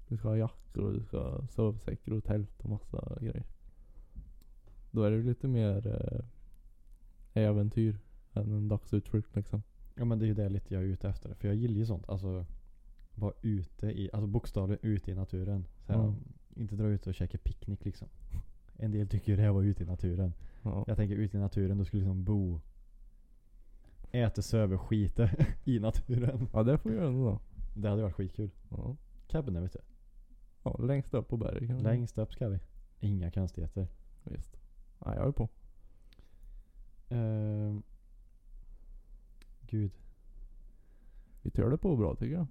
Speaker 1: Du ska ha jackor och du ska ha sovsäckar och tält och massa grejer. Då är det ju lite mer eh, äventyr än en dagsutflykt liksom.
Speaker 2: ja men det är ju det lite jag är ute efter. För jag gillar ju sånt. Alltså vara ute i, alltså bokstavligen ute i naturen. Så här,
Speaker 1: Ja.
Speaker 2: Inte dra ut och käka picknick liksom. En del tycker ju det här var ute i naturen.
Speaker 1: Ja.
Speaker 2: Jag tänker ute i naturen, då skulle liksom bo. Äta, söva, skita i naturen.
Speaker 1: ja det får vi göra ändå då.
Speaker 2: Det hade varit skitkul.
Speaker 1: Ja.
Speaker 2: Cabernet vet du.
Speaker 1: ja längst upp på berget kan vi-
Speaker 2: Längst upp ska vi. Inga konstigheter.
Speaker 1: Visst. Ja, jag är på.
Speaker 2: Ehm. Gud.
Speaker 1: Vi törde på bra tycker jag.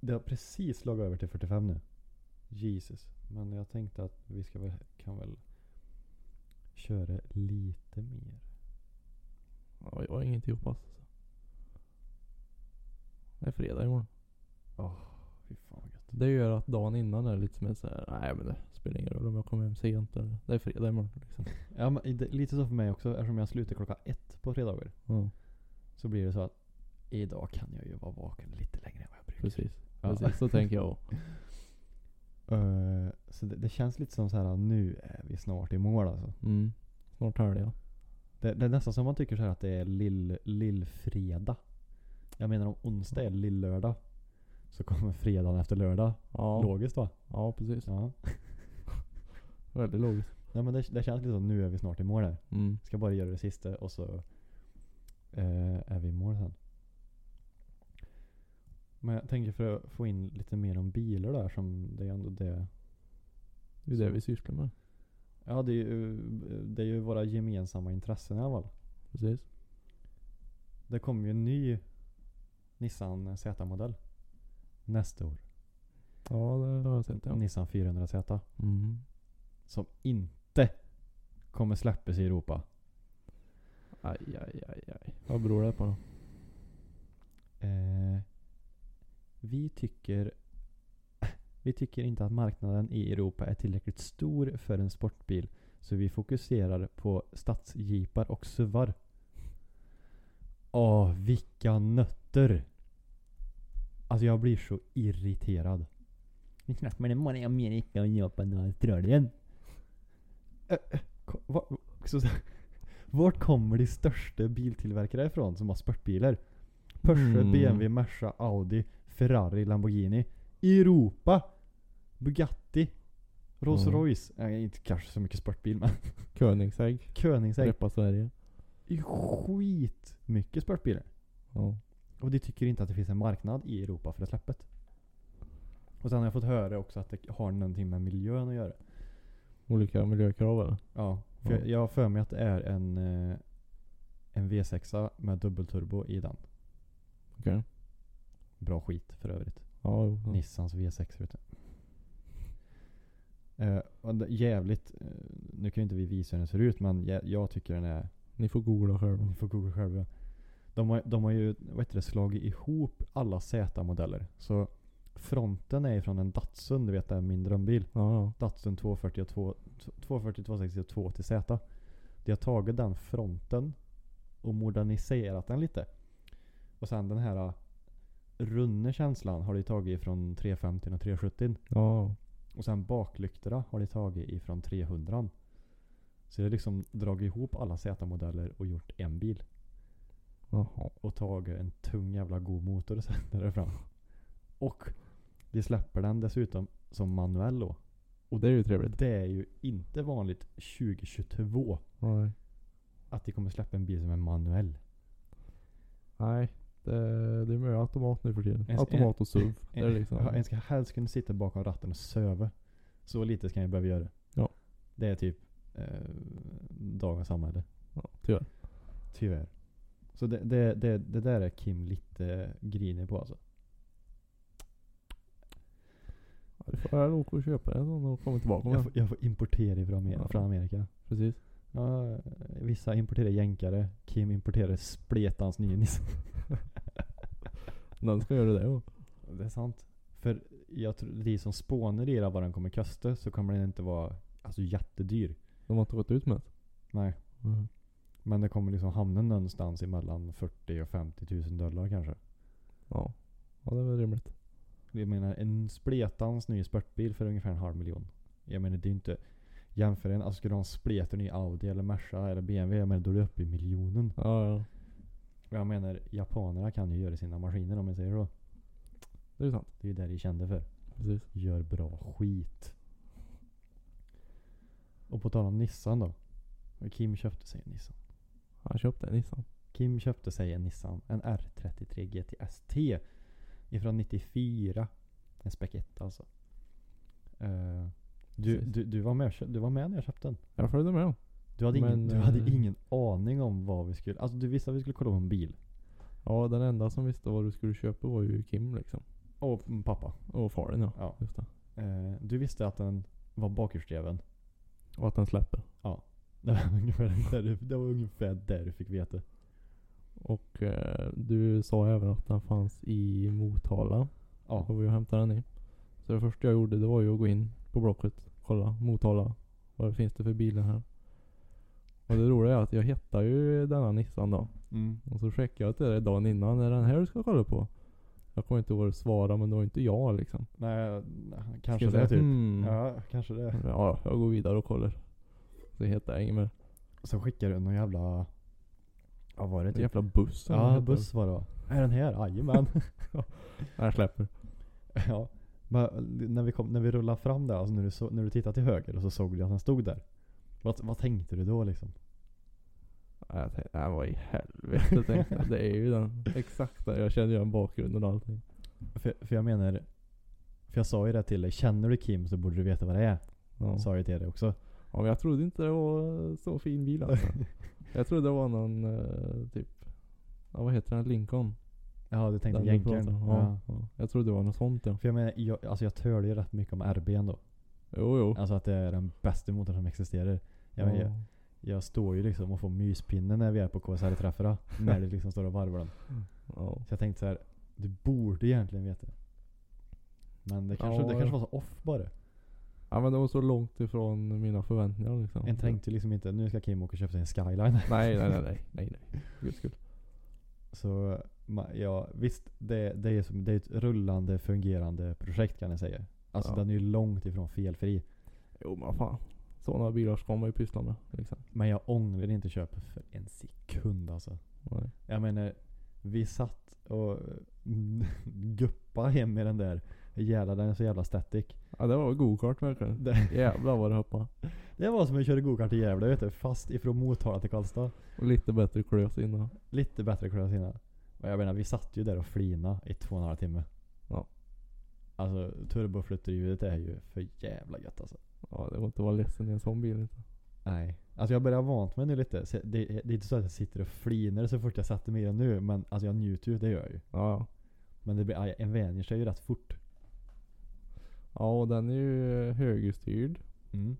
Speaker 2: Det har precis slagit över till 45 nu. Jesus. Men jag tänkte att vi ska väl, kan väl Köra lite mer.
Speaker 1: Ja, jag har inget ihop alltså. Det är fredag imorgon.
Speaker 2: Fy fan vad gött.
Speaker 1: Det gör att dagen innan är lite som en så här, nej men det spelar ingen roll om jag kommer hem sent eller. Det är fredag imorgon liksom.
Speaker 2: Ja, men i- det, lite så för mig också eftersom jag slutar klockan ett på fredagar.
Speaker 1: Ja,
Speaker 2: Så blir det så att idag kan jag ju vara vaken lite längre än vad jag brukar.
Speaker 1: precis.
Speaker 2: Ja.
Speaker 1: Precis, så tänker jag också.
Speaker 2: Eh, så det, det känns lite som så här nu är vi snart i mål alltså.
Speaker 1: Mm. Snart helg ja.
Speaker 2: Det, det är nästan som man tycker så här att det är lill- lillfredag. jag menar om onsdag är lillördag så kommer fredagen efter lördag.
Speaker 1: Ja,
Speaker 2: Logiskt va?
Speaker 1: ja precis.
Speaker 2: Ja.
Speaker 1: Väldigt logiskt.
Speaker 2: Nej men det, det känns lite som nu är vi snart i mål här.
Speaker 1: Mm.
Speaker 2: Ska bara göra det sista och så eh, är vi i mål sen. Men jag tänker för att få in lite mer om bilar där som det är ändå det.
Speaker 1: Det är det vi sysslar med.
Speaker 2: Ja det är ju, eh, det är ju våra gemensamma intressen i alla fall.
Speaker 1: Precis.
Speaker 2: Det kommer ju en ny Nissan Z-modell. Nästa år.
Speaker 1: Ja, det har jag sett ja.
Speaker 2: Nissan 400Z.
Speaker 1: Mm.
Speaker 2: Som inte kommer släppas i Europa.
Speaker 1: Aj, aj, aj, aj. Vad beror det på då?
Speaker 2: Eh, vi tycker vi tycker inte att marknaden i Europa är tillräckligt stor för en sportbil. Så vi fokuserar på stadsjeepar och SUVar. Åh, vilka nötter! Alltså jag blir så irriterad. Vi snackar om det i Amerika och Japan och Australien. Vart kommer de största biltillverkare ifrån som har sportbilar? Porsche,
Speaker 1: Mm.
Speaker 2: BMW, Merca, Audi, Ferrari, Lamborghini. Europa! Bugatti. Rolls
Speaker 1: Mm.
Speaker 2: Royce. Nej, inte kanske så mycket sportbil men.
Speaker 1: Königsegg.
Speaker 2: Koenigsegg.
Speaker 1: Repa Sverige.
Speaker 2: Det är skit mycket sportbilar.
Speaker 1: Ja.
Speaker 2: Och de tycker inte att det finns en marknad i Europa för det släppet. Och sen har jag fått höra också att det har någonting med miljön att göra.
Speaker 1: Olika miljökrav eller?
Speaker 2: Ja, för jag-
Speaker 1: Ja.
Speaker 2: jag har för mig att det är en, eh, en V6 med dubbelturbo i den.
Speaker 1: Okej.
Speaker 2: Bra skit för övrigt.
Speaker 1: Ja, jo. ja.
Speaker 2: Nissans V6 vet du. Eh, och det- jävligt, eh, nu kan ju inte vi visa hur den ser ut men jag, jag tycker den är
Speaker 1: Ni får googla själva.
Speaker 2: Ni får googla själva. De har, de har ju vad heter det, slagit ihop alla Z-modeller. Så fronten är från en Datsun, du vet det är min drömbil.
Speaker 1: Ja, ja.
Speaker 2: Datsun 240, och 2, 240 260 och 280Z. De har tagit den fronten och moderniserat den lite. Och sen den här eh, runda känslan har de tagit ifrån 350 och 370.
Speaker 1: Ja,
Speaker 2: Och sen baklyktorna har de tagit ifrån 300. Så de har liksom dragit ihop alla Z-modeller och gjort en bil
Speaker 1: jaha.
Speaker 2: och tagit en tung jävla god motor och sätter det fram. Och de släpper den dessutom som manuell då.
Speaker 1: Och det är ju trevligt.
Speaker 2: Det är ju inte vanligt 2022
Speaker 1: Nej.
Speaker 2: att de kommer släppa en bil som är manuell.
Speaker 1: Nej. Det, det är mer automat nu för tiden.
Speaker 2: Ens-
Speaker 1: Automat och SUV. Det är liksom.
Speaker 2: Ja, En ska helst kunna sitta bakom ratten och söva. Så lite ska jag behöva göra.
Speaker 1: Ja.
Speaker 2: Det är typ eh, dagens samhälle.
Speaker 1: Ja, tyvärr.
Speaker 2: Tyvärr. Så det, det, det, det där är Kim lite grinig på alltså.
Speaker 1: Ja, Du får väl åka och köpa en sån och komma tillbaka med
Speaker 2: Jag
Speaker 1: den.
Speaker 2: får, jag får importera ifrån Amer-
Speaker 1: Ja.
Speaker 2: från Amerika.
Speaker 1: Precis.
Speaker 2: Ja, vissa importerar jänkare. Kim importerar spletans nya Nissan.
Speaker 1: Den ska göra det också.
Speaker 2: Det är sant. För jag tror, de som spånar i det vad den kommer kosta så kommer den inte vara alltså, jättedyr.
Speaker 1: De har inte gått ut med det.
Speaker 2: Nej.
Speaker 1: Mhm.
Speaker 2: Men det kommer liksom hamna någonstans emellan 40 och 50 tusen dollar kanske.
Speaker 1: Ja. Ja, det är väl rimligt.
Speaker 2: Jag menar en spletans ny spurtbil för ungefär en halv miljon. Jag menar det är ju inte... Jämför en, alltså skulle du ha en spleten ny Audi eller Merca eller BMW, jag menar då är du uppe i miljonen.
Speaker 1: Ja, ja.
Speaker 2: Och jag menar japanerna kan ju göra sina maskiner om jag säger så.
Speaker 1: Det är sant.
Speaker 2: Det är ju det de är kända för.
Speaker 1: Precis.
Speaker 2: gör bra skit. Och på tal om Nissan då. Kim köpte sig en Nissan.
Speaker 1: Han köpte en Nissan.
Speaker 2: Kim köpte sig en Nissan. En R33 GT ST. Ifrån 94. En Spec alltså. Eh, du,
Speaker 1: Precis.
Speaker 2: du, du, var med, och kö- du var med när jag köpte den.
Speaker 1: Jag följde med honom.
Speaker 2: Du hade, ingen,
Speaker 1: Men,
Speaker 2: du hade
Speaker 1: eh,
Speaker 2: ingen aning om vad vi skulle... Alltså du visste att vi skulle kolla på en bil.
Speaker 1: Ja, den enda som visste vad du skulle köpa var ju Kim liksom.
Speaker 2: Och mm, pappa.
Speaker 1: Och faren ja.
Speaker 2: Ja.
Speaker 1: Just det.
Speaker 2: Eh, du visste att den var bakhjulsdriven.
Speaker 1: Och att den släpper.
Speaker 2: Det var ungefär där du, det var ungefär där du fick veta.
Speaker 1: Och eh, du sa även att den fanns i Motala.
Speaker 2: Ja.
Speaker 1: Och vi hämtade den i. Så det första jag gjorde det var ju att gå in på Blocket. Kolla Motala. Vad finns det för bilar här? Och det roliga är att jag hittade ju denna Nissan då.
Speaker 2: Mm.
Speaker 1: Och så checkade jag till det dagen innan. Är det den här du ska kolla på? Jag kommer inte ihåg vad du svarade men det var inte jag liksom.
Speaker 2: Nej, nej, kanske
Speaker 1: jag
Speaker 2: det typ.
Speaker 1: "Hmm."
Speaker 2: Ja, kanske det.
Speaker 1: Ja, jag går vidare och kollar. Så hittade jag inget mer.
Speaker 2: Sen skickar du någon jävla... Ja var det
Speaker 1: En
Speaker 2: typ?
Speaker 1: jävla buss. eller vad
Speaker 2: Ja,
Speaker 1: heter
Speaker 2: buss var det va? Är den här? Jajamän.
Speaker 1: det? Nej, jag släpper.
Speaker 2: ja. Men när vi, kom, när vi rullade fram där, alltså när du, så, när du tittade till höger och så såg du att den stod där. Vad, vad tänkte du då liksom?
Speaker 1: Ja, Jag tänkte, nej vad i helvete tänkte jag. Det är ju den exakta. Jag känner ju den bakgrunden och allting.
Speaker 2: För, för jag menar, för jag sa ju det till dig. Känner du Kim så borde du veta vad det är.
Speaker 1: Ja.
Speaker 2: Sa jag ju till dig också.
Speaker 1: ja men jag trodde inte det var så fin bil alltså. Jag trodde det var någon eh, typ, ja vad heter den? Lincoln?
Speaker 2: Ja, du tänkte
Speaker 1: Den du
Speaker 2: jänkaren.
Speaker 1: pratade om.
Speaker 2: Ja.
Speaker 1: Ja, ja. Jag trodde det var något sånt ja.
Speaker 2: För jag menar, jag, alltså jag törde ju rätt mycket om RB'n då.
Speaker 1: Jo jo.
Speaker 2: Alltså att det är den bästa motorn som existerar. Jag, menar, jag,
Speaker 1: Ja.
Speaker 2: jag står ju liksom och får myspinne när vi är på KSR-träffarna. när du liksom står och varvar den.
Speaker 1: Ja.
Speaker 2: Så jag tänkte så här, du borde egentligen veta. Men det kanske,
Speaker 1: Ja.
Speaker 2: det kanske var så off bara.
Speaker 1: ja men det var så långt ifrån mina förväntningar liksom.
Speaker 2: En tänkte liksom inte, nu ska Kim åka och köpa sig en skyline.
Speaker 1: Nej nej nej nej. nej, nej. Guds skull.
Speaker 2: Så ma- ja, visst det, det, är som, det är ett rullande fungerande projekt kan jag säga. Alltså
Speaker 1: Ja.
Speaker 2: den är ju långt ifrån felfri.
Speaker 1: Jo men fan. Sådana bilar ska man ju pyssla med. Liksom.
Speaker 2: Men jag ångrar inte köpet för en sekund alltså.
Speaker 1: Nej.
Speaker 2: Jag menar, vi satt och guppade hem i den där. Jävlar den är så jävla static.
Speaker 1: Ja det var väl go-kart verkligen.
Speaker 2: Det,
Speaker 1: Jävlar vad det hoppade.
Speaker 2: det var som att köra gokart i Gävle vet du. Fast ifrån Motala till Karlstad.
Speaker 1: Och lite bättre klös innan.
Speaker 2: Lite bättre kunde jag sina. Men jag menar vi satt ju där och flina i två och en halv timme.
Speaker 1: Ja.
Speaker 2: Alltså turboflyttljudet är ju för jävla gött alltså.
Speaker 1: Ja det går inte att vara ledsen i en sån bil inte.
Speaker 2: Nej. Alltså jag börjar vant mig nu lite. Så Det, det är inte så att jag sitter och flinar så fort jag sätter mig i den nu. Men alltså jag njuter ju, det gör jag ju.
Speaker 1: Ja ja.
Speaker 2: Men det blir, aj, en vänjer sig ju rätt fort.
Speaker 1: Ja och den är ju eh, högerstyrd.
Speaker 2: Mm.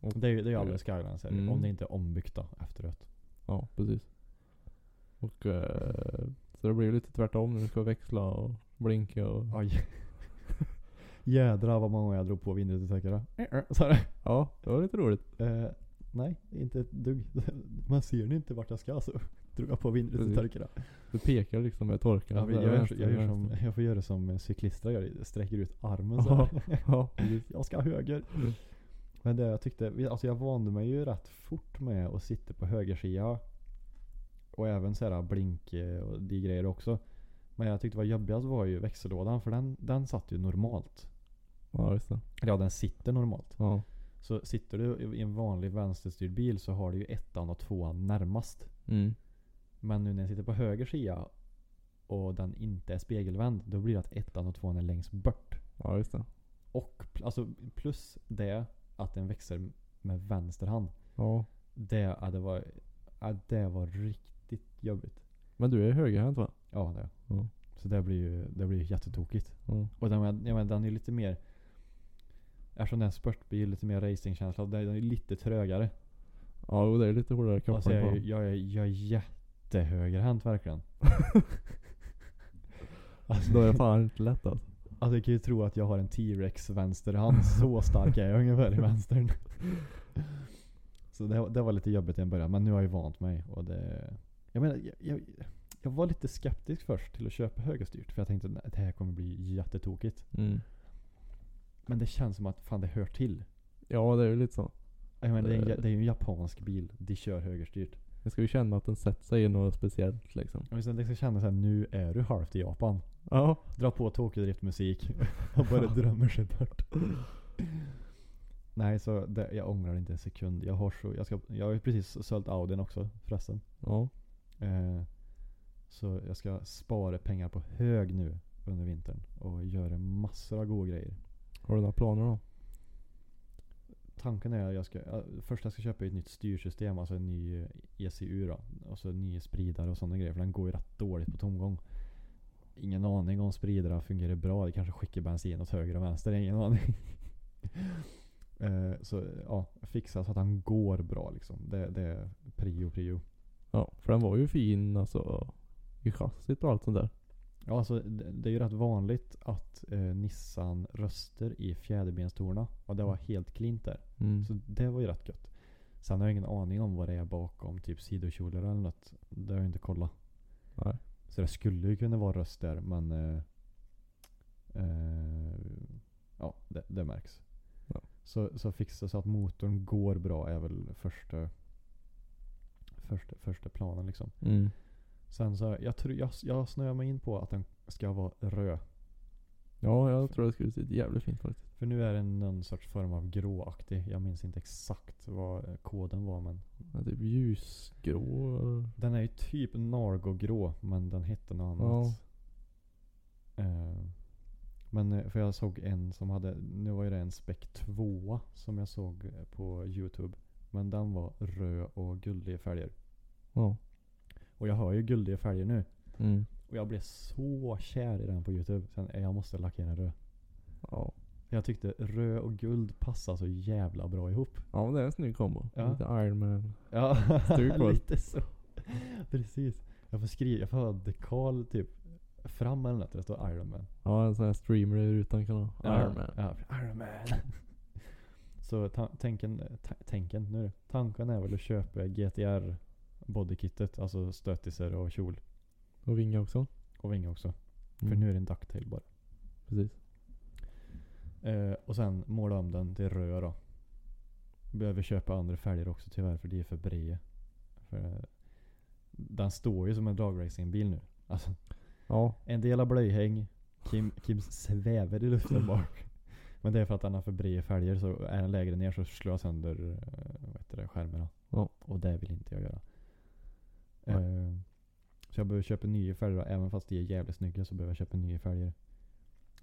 Speaker 1: Och-
Speaker 2: Det är ju det är ju alldeles skyline så är det.
Speaker 1: Mm.
Speaker 2: Om det inte är ombyggt då efteråt.
Speaker 1: Ja, precis. Och eh, så det blir ju lite tvärtom när du ska växla och blinka och...
Speaker 2: Aj. Jädrar vad många gånger jag drog på vindrutetäckare. Så här.
Speaker 1: Ja, det var lite roligt.
Speaker 2: Eh, nej, inte ett dugg. Man ser ju inte vart jag ska så drog jag på vindrutan och
Speaker 1: Precis.
Speaker 2: torkade.
Speaker 1: Du pekar liksom med torkaren.
Speaker 2: Jag,
Speaker 1: där
Speaker 2: gör-
Speaker 1: vänster,
Speaker 2: jag, gör som-
Speaker 1: vänster.
Speaker 2: jag får göra som eh, cyklister gör, sträcker ut armen så här.
Speaker 1: Ja, precis.
Speaker 2: Jag ska höger. Men det jag tyckte, vi- alltså jag vande mig ju rätt fort med att sitta på högersida. Och även så här blink eh, och de grejer också. Men jag tyckte det var jobbigast var ju växellådan för den, den satt ju normalt.
Speaker 1: Ja, just det.
Speaker 2: Eller ja, den sitter normalt.
Speaker 1: Ja.
Speaker 2: Så sitter du i en vanlig vänsterstyrd bil så har du ju ettan och tvåan närmast.
Speaker 1: Mm.
Speaker 2: Men nu när jag sitter på höger sida och den inte är spegelvänd, då blir det att ettan och tvåan är längst bort.
Speaker 1: Ja, just det.
Speaker 2: Och pl- alltså, plus det att den växer med vänster hand.
Speaker 1: Ja.
Speaker 2: Det, ja, det, var, ja, det var riktigt jobbigt.
Speaker 1: Men du är högerhänt va?
Speaker 2: Ja, det.
Speaker 1: Ja.
Speaker 2: Så det blir ju det blir ju jättetokigt.
Speaker 1: Ja.
Speaker 2: Och den, jag menar, den är ju lite mer... Eftersom den är en spurtbil, lite mer racingkänsla. Den den är lite trögare.
Speaker 1: Ja, och det är lite hårdare kroppar
Speaker 2: Alltså, jag,
Speaker 1: på.
Speaker 2: är ju- jag, är- jag är jättehögerhänt verkligen. alltså,
Speaker 1: Då är det fan inte lätt alltså.
Speaker 2: Alltså jag kan ju tro att jag har en T-Rex vänsterhand. Så stark är jag ungefär i vänstern. Så det, det var lite jobbigt i en början. Men nu har jag ju vant mig. Och det, jag, menar, jag, jag, jag var lite skeptisk först till att köpa högerstyrt. För jag tänkte att det här kommer bli jättetokigt.
Speaker 1: Mm.
Speaker 2: Men det känns som att fan det hör till.
Speaker 1: Ja, det är ju lite så.
Speaker 2: Jag menar, det, är, en ja-
Speaker 1: Eh.
Speaker 2: det är ju en japansk bil. De kör högerstyrt.
Speaker 1: Jag ska ju känna att den sätter sig i något speciellt liksom.
Speaker 2: Och sen liksom känna såhär, nu är du halvt i Japan.
Speaker 1: Ja.
Speaker 2: Dra på Tokyo-driftmusik och bara drömmer sig bort. Nej, så det, jag ångrar inte en sekund. Jag har, så, jag, ska, jag har ju precis sålt Audin också förresten.
Speaker 1: Ja.
Speaker 2: Eh, så jag ska spara pengar på hög nu under vintern och göra massor av goda grejer.
Speaker 1: Har du några planer då?
Speaker 2: Tanken är att jag ska, ja, först jag ska köpa ett nytt styrsystem, alltså en ny ECU då. Och så en ny spridare och sådana grejer, för den går ju rätt dåligt på tomgång. Ingen aning om spridare fungerar bra, det kanske skickar bensin åt höger och vänster, ingen aning. Eh, så ja, fixa så att han går bra liksom. Det, det är prio, prio.
Speaker 1: Ja, för den var ju fin alltså. I chassit och allt sånt där.
Speaker 2: Ja, alltså, det, det är ju rätt vanligt att eh, Nissan röster i fjäderbenstorna. Och det var helt klint där.
Speaker 1: Mm.
Speaker 2: Så det var ju rätt gött. Sen har jag ingen aning om vad det är bakom, typ sidokjolar eller något. Det har jag inte kollat.
Speaker 1: Nej.
Speaker 2: Så det skulle ju kunna vara röst där men... Eh, eh, ja, det, det märks.
Speaker 1: Ja.
Speaker 2: Så, så fixa så att motorn går bra är väl första, första, första planen liksom.
Speaker 1: Mm.
Speaker 2: Sen så, jag, tror, jag, jag snöar mig in på att den ska vara röd.
Speaker 1: Ja, jag tror det skulle se jävligt fint faktiskt.
Speaker 2: För nu är den någon sorts form av gråaktig. Jag minns inte exakt vad eh, koden var men
Speaker 1: Ja, typ ljusgrå. eller-
Speaker 2: Den är ju typ Nargogrå men den hette något
Speaker 1: Ja.
Speaker 2: annat. Eh, men eh, för jag såg en som hade, nu var ju det en spec 2 som jag såg eh, på youtube. Men den var röd och guldig färger.
Speaker 1: Ja.
Speaker 2: Och jag har ju guldiga färger nu.
Speaker 1: Mm.
Speaker 2: Och jag blev så kär i den på youtube. Sen eh, jag måste lackera den röd.
Speaker 1: Ja.
Speaker 2: Jag tyckte röd och guld passar så jävla bra ihop.
Speaker 1: Ja men det är en snygg kombo.
Speaker 2: Ja.
Speaker 1: Lite Iron Man.
Speaker 2: Ja,
Speaker 1: Stuk på.
Speaker 2: lite så. Precis. Jag får skriva, jag får ha dekal typ fram eller något. där Det står Iron Man.
Speaker 1: Ja en sån här streamer i rutan kan ha.
Speaker 2: Ja,
Speaker 1: Iron Man.
Speaker 2: Ja, Iron Man. så ta- tänken, ta- tänken, nu är det. Tanken är väl att köpa GTR bodykittet. Alltså stötisar och kjol.
Speaker 1: Och vinga också.
Speaker 2: Och vinge också.
Speaker 1: Mm.
Speaker 2: För nu är det en ducktail bara.
Speaker 1: Precis.
Speaker 2: Eh, och sen måla om den till röd då. Behöver köpa andra färger också tyvärr för de är för breda. För, eh, den står ju som en dragracingbil nu. Alltså
Speaker 1: Ja.
Speaker 2: En del har blöjhäng. Kim, Kim svävar i luften bak. Men det är för att han har för breda fälgar så är han lägre ner så slår jag sönder eh, vad heter det, skärmarna.
Speaker 1: Ja.
Speaker 2: Och det vill inte jag göra.
Speaker 1: Nej.
Speaker 2: Eh, så jag behöver köpa nya fälgar då. Även fast de är jävligt snygga så behöver jag köpa nya fälgar.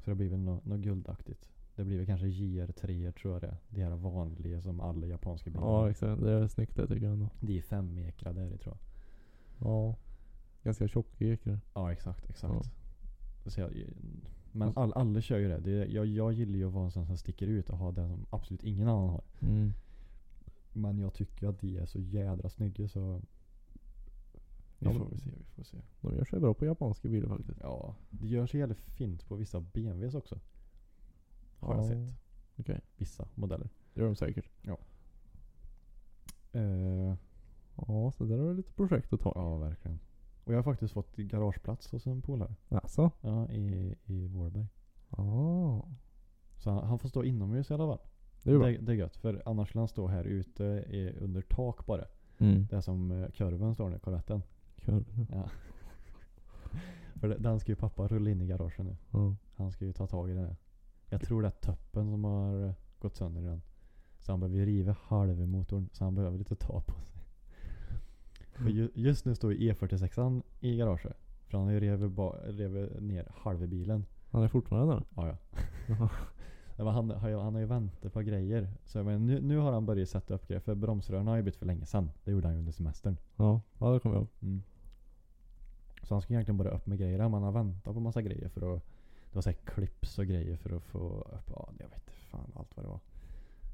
Speaker 2: Så det blir väl något nå guldaktigt. Det blir väl kanske JR3 tror jag det är. De här vanliga som alla japanska bilar
Speaker 1: Ja exakt. Det är snyggt det tycker jag ändå.
Speaker 2: De är fem ekrar där i tror jag.
Speaker 1: Ja. Ganska tjock ekrar.
Speaker 2: Ja exakt, exakt. Så jag, men all, alla kör ju det. det är- jag, jag gillar ju att vara en sån som sticker ut och ha det som absolut ingen annan har.
Speaker 1: Mm.
Speaker 2: Men jag tycker att de är så jädra snygga så... Vi
Speaker 1: Ja,
Speaker 2: får
Speaker 1: men-
Speaker 2: se, vi får se.
Speaker 1: De gör sig bra på japanska bilar faktiskt.
Speaker 2: Ja, det gör sig jävligt fint på vissa BMWs också. Har jag
Speaker 1: Ja.
Speaker 2: sett.
Speaker 1: Okej.
Speaker 2: Vissa modeller.
Speaker 1: Det gör de säkert.
Speaker 2: Eh,
Speaker 1: Ja så där har du lite projekt att ta.
Speaker 2: ja, verkligen. Och jag har faktiskt fått garageplats hos en polare.
Speaker 1: Alltså.
Speaker 2: Ja, i, i Vårberg.
Speaker 1: Ja.
Speaker 2: Så han, han får stå inomhus i alla fall.
Speaker 1: Ah, Det är ju bra.
Speaker 2: Det, det är gött, för annars skulle han stå här ute i, under tak bara.
Speaker 1: Mm.
Speaker 2: Det är som eh, kurven står nu, korvetten.
Speaker 1: Kör.
Speaker 2: För det- den ska ju pappa rulla in i garagen nu.
Speaker 1: Ja.
Speaker 2: Han ska ju ta tag i den här. Jag tror det är toppen som har eh, gått sönder i den. Så han behöver ju riva halva motorn, så han behöver lite ta på sig. Och ju, just nu står ju E46an i garaget. För han har ju revit ba- revit ner halva bilen.
Speaker 1: Han är fortfarande där.
Speaker 2: Ja, ja. Nej, men han, har ju- han har ju väntat på grejer. Så jag menar, nu, nu har han börjat sätta upp grejer. För bromsrören har han ju bytt för länge sedan. Det gjorde han ju under semestern.
Speaker 1: Ja. Ja det kommer jag ihåg.
Speaker 2: Så han ska egentligen bara upp med grejer. här, men Han har väntat på massa grejer för att... Det var såhär clips och grejer för att få upp... Ja, jag vet inte fan allt vad det var.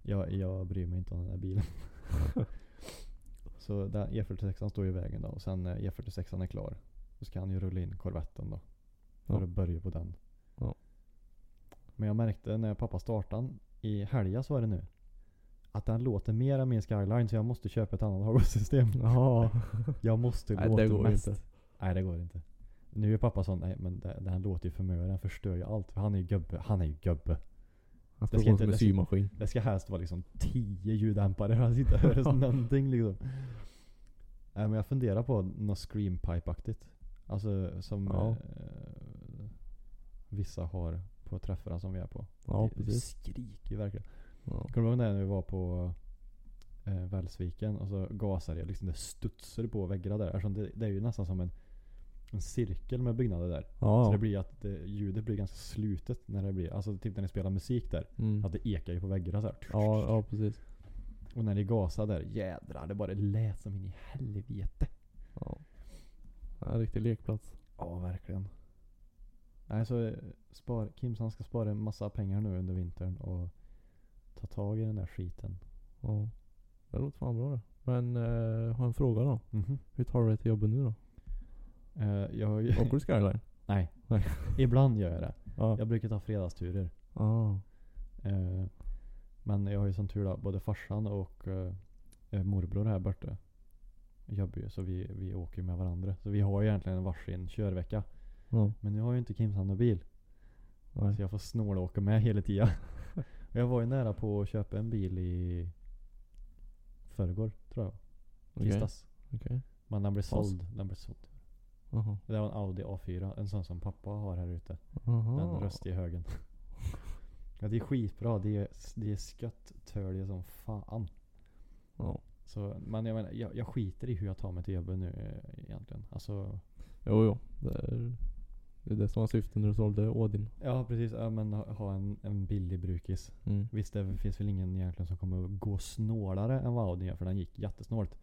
Speaker 2: Jag, jag bryr mig inte om den där bilen. så där, E46 står ju i vägen då. Och sen eh, E46 är klar. Då ska han ju rulla in korvetten då. För
Speaker 1: Ja.
Speaker 2: att börja på den.
Speaker 1: Ja.
Speaker 2: Men jag märkte när pappa startade den, i helgas var det nu. Att den låter mer än min skyline så jag måste köpa ett annat hardware-system.
Speaker 1: Ja.
Speaker 2: Jag måste
Speaker 1: Nej,
Speaker 2: låta
Speaker 1: det går
Speaker 2: mest.
Speaker 1: inte.
Speaker 2: Nej det går inte. Nu är pappa sån, nej men det, det här låter ju för mycket, den förstör ju allt. För han är ju gubbe, han är ju gubbe.
Speaker 1: Han
Speaker 2: ska
Speaker 1: ska gå
Speaker 2: inte-
Speaker 1: som en
Speaker 2: det ska-
Speaker 1: symaskin.
Speaker 2: Det ska helst vara liksom 10 ljuddämpare, han sitter och hör någonting liksom. Nej men jag funderar på något screampipe-aktigt. Alltså som
Speaker 1: Ja.
Speaker 2: eh, vissa har på träffarna som vi är på.
Speaker 1: Ja
Speaker 2: det, det
Speaker 1: precis.
Speaker 2: skriker ju verkligen.
Speaker 1: Ja.
Speaker 2: Kommer du ihåg när vi var på eh, Välsviken och så gasade jag liksom, det studsade på väggarna där. Eftersom det, det är ju nästan som en, en cirkel med byggnader där. Så
Speaker 1: Ja.
Speaker 2: det blir att det, ljudet blir ganska slutet när det blir, alltså typ när ni spelar musik där.
Speaker 1: Mm.
Speaker 2: Att det ekar ju på väggarna så här.
Speaker 1: Ja, ja precis.
Speaker 2: Och när ni gasar där, jädrar det bara lät som in i helvete.
Speaker 1: Ja. Ja, En riktig lekplats.
Speaker 2: Ja, verkligen. Nej så eh, spar, Kims han ska spara en massa pengar nu under vintern och ta tag i den där skiten.
Speaker 1: Ja. Det låter fan bra det. Men eh, har en fråga då. Hur tar du dig till jobbet nu då?
Speaker 2: Eh, jag,
Speaker 1: Åker du skyline?
Speaker 2: nej.
Speaker 1: Nej.
Speaker 2: Ibland gör jag det.
Speaker 1: Ja.
Speaker 2: Jag brukar ta fredagsturer.
Speaker 1: Ah.
Speaker 2: Eh, men jag har ju som tur då både farsan och eh, eh, morbror här borta. Jobbar ju så vi, vi åker ju med varandra. Så vi har ju egentligen en varsin körvecka.
Speaker 1: Ja.
Speaker 2: Men nu har ju inte Kimsan någon bil.
Speaker 1: Nej.
Speaker 2: Så jag får snålåka med hela tiden. Och jag var ju nära på att köpa en bil i förrgår tror jag.
Speaker 1: Okej.
Speaker 2: Tisdags.
Speaker 1: Okej.
Speaker 2: Men den blev
Speaker 1: Paus.
Speaker 2: såld. Den blev såld.
Speaker 1: Jaha.
Speaker 2: Det var en Audi A4. En sån som pappa har här ute. Den
Speaker 1: Jaha.
Speaker 2: röstiga högen. ja det är skitbra. Det är, det är sköttölje som fan.
Speaker 1: Ja.
Speaker 2: Så, men jag menar, jag, jag skiter i hur jag tar mig till jobbet nu eh, egentligen. Alltså,
Speaker 1: Jo, jo. Det är, det är det som var syftet när du sålde Odin.
Speaker 2: ja precis. Ja, men ha, ha en, en billig brukis.
Speaker 1: Mm.
Speaker 2: Visst, det finns väl ingen egentligen som kommer att gå snålare än vad Audi gör, för den gick jättesnålt.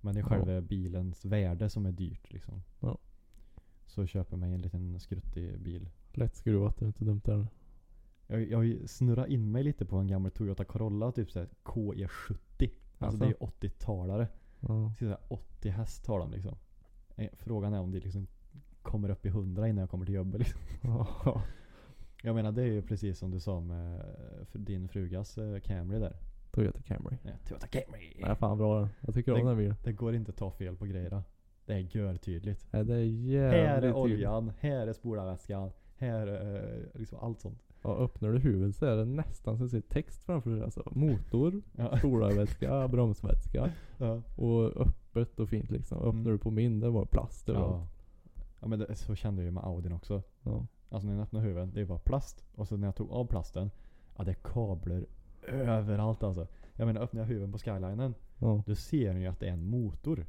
Speaker 2: Men det är
Speaker 1: Ja.
Speaker 2: själva bilens värde som är dyrt liksom.
Speaker 1: Ja.
Speaker 2: Så köper mig en liten skruttig bil.
Speaker 1: Lätt skruvat, det är inte dumt där.
Speaker 2: Jag, jag snurrar in mig lite på en gammal Toyota Corolla, typ såhär KE70. Alltså det är ju 80-talare.
Speaker 1: Ja.
Speaker 2: Så det är såhär 80 häst tar de liksom. Eh, Frågan är om det liksom kommer upp i 100 innan jag kommer till jobbet liksom.
Speaker 1: Ja.
Speaker 2: Jag menar det är ju precis som du sa med eh, för din frugas eh, Camry där.
Speaker 1: Toyota Camry.
Speaker 2: Ja, Toyota Camry.
Speaker 1: Nej fan bra den. Jag tycker om
Speaker 2: Det-
Speaker 1: den här bilen.
Speaker 2: Det går inte att ta fel på grejerna. Det är görtydligt.
Speaker 1: Nej, det är
Speaker 2: Här
Speaker 1: jävligt
Speaker 2: är
Speaker 1: tydligt.
Speaker 2: oljan, här är spolarvätskan, här är eh, liksom allt sånt.
Speaker 1: Ja, öppnar du huvudet så är det nästan som att se text framför dig. Alltså motor,
Speaker 2: Ja.
Speaker 1: spolarvätska, bromsvätska.
Speaker 2: Ja.
Speaker 1: Och öppet och fint liksom. Öppnar
Speaker 2: Mm.
Speaker 1: du på min, det var plast överallt.
Speaker 2: Ja. ja men det, så kände jag ju med Audin också.
Speaker 1: Ja.
Speaker 2: Alltså när jag öppnade huven, det var plast. Och så när jag tog av plasten, ja det är kablar överallt alltså. Jag menar öppnar jag huven på skylinen,
Speaker 1: Ja.
Speaker 2: då ser ni ju att det är en motor.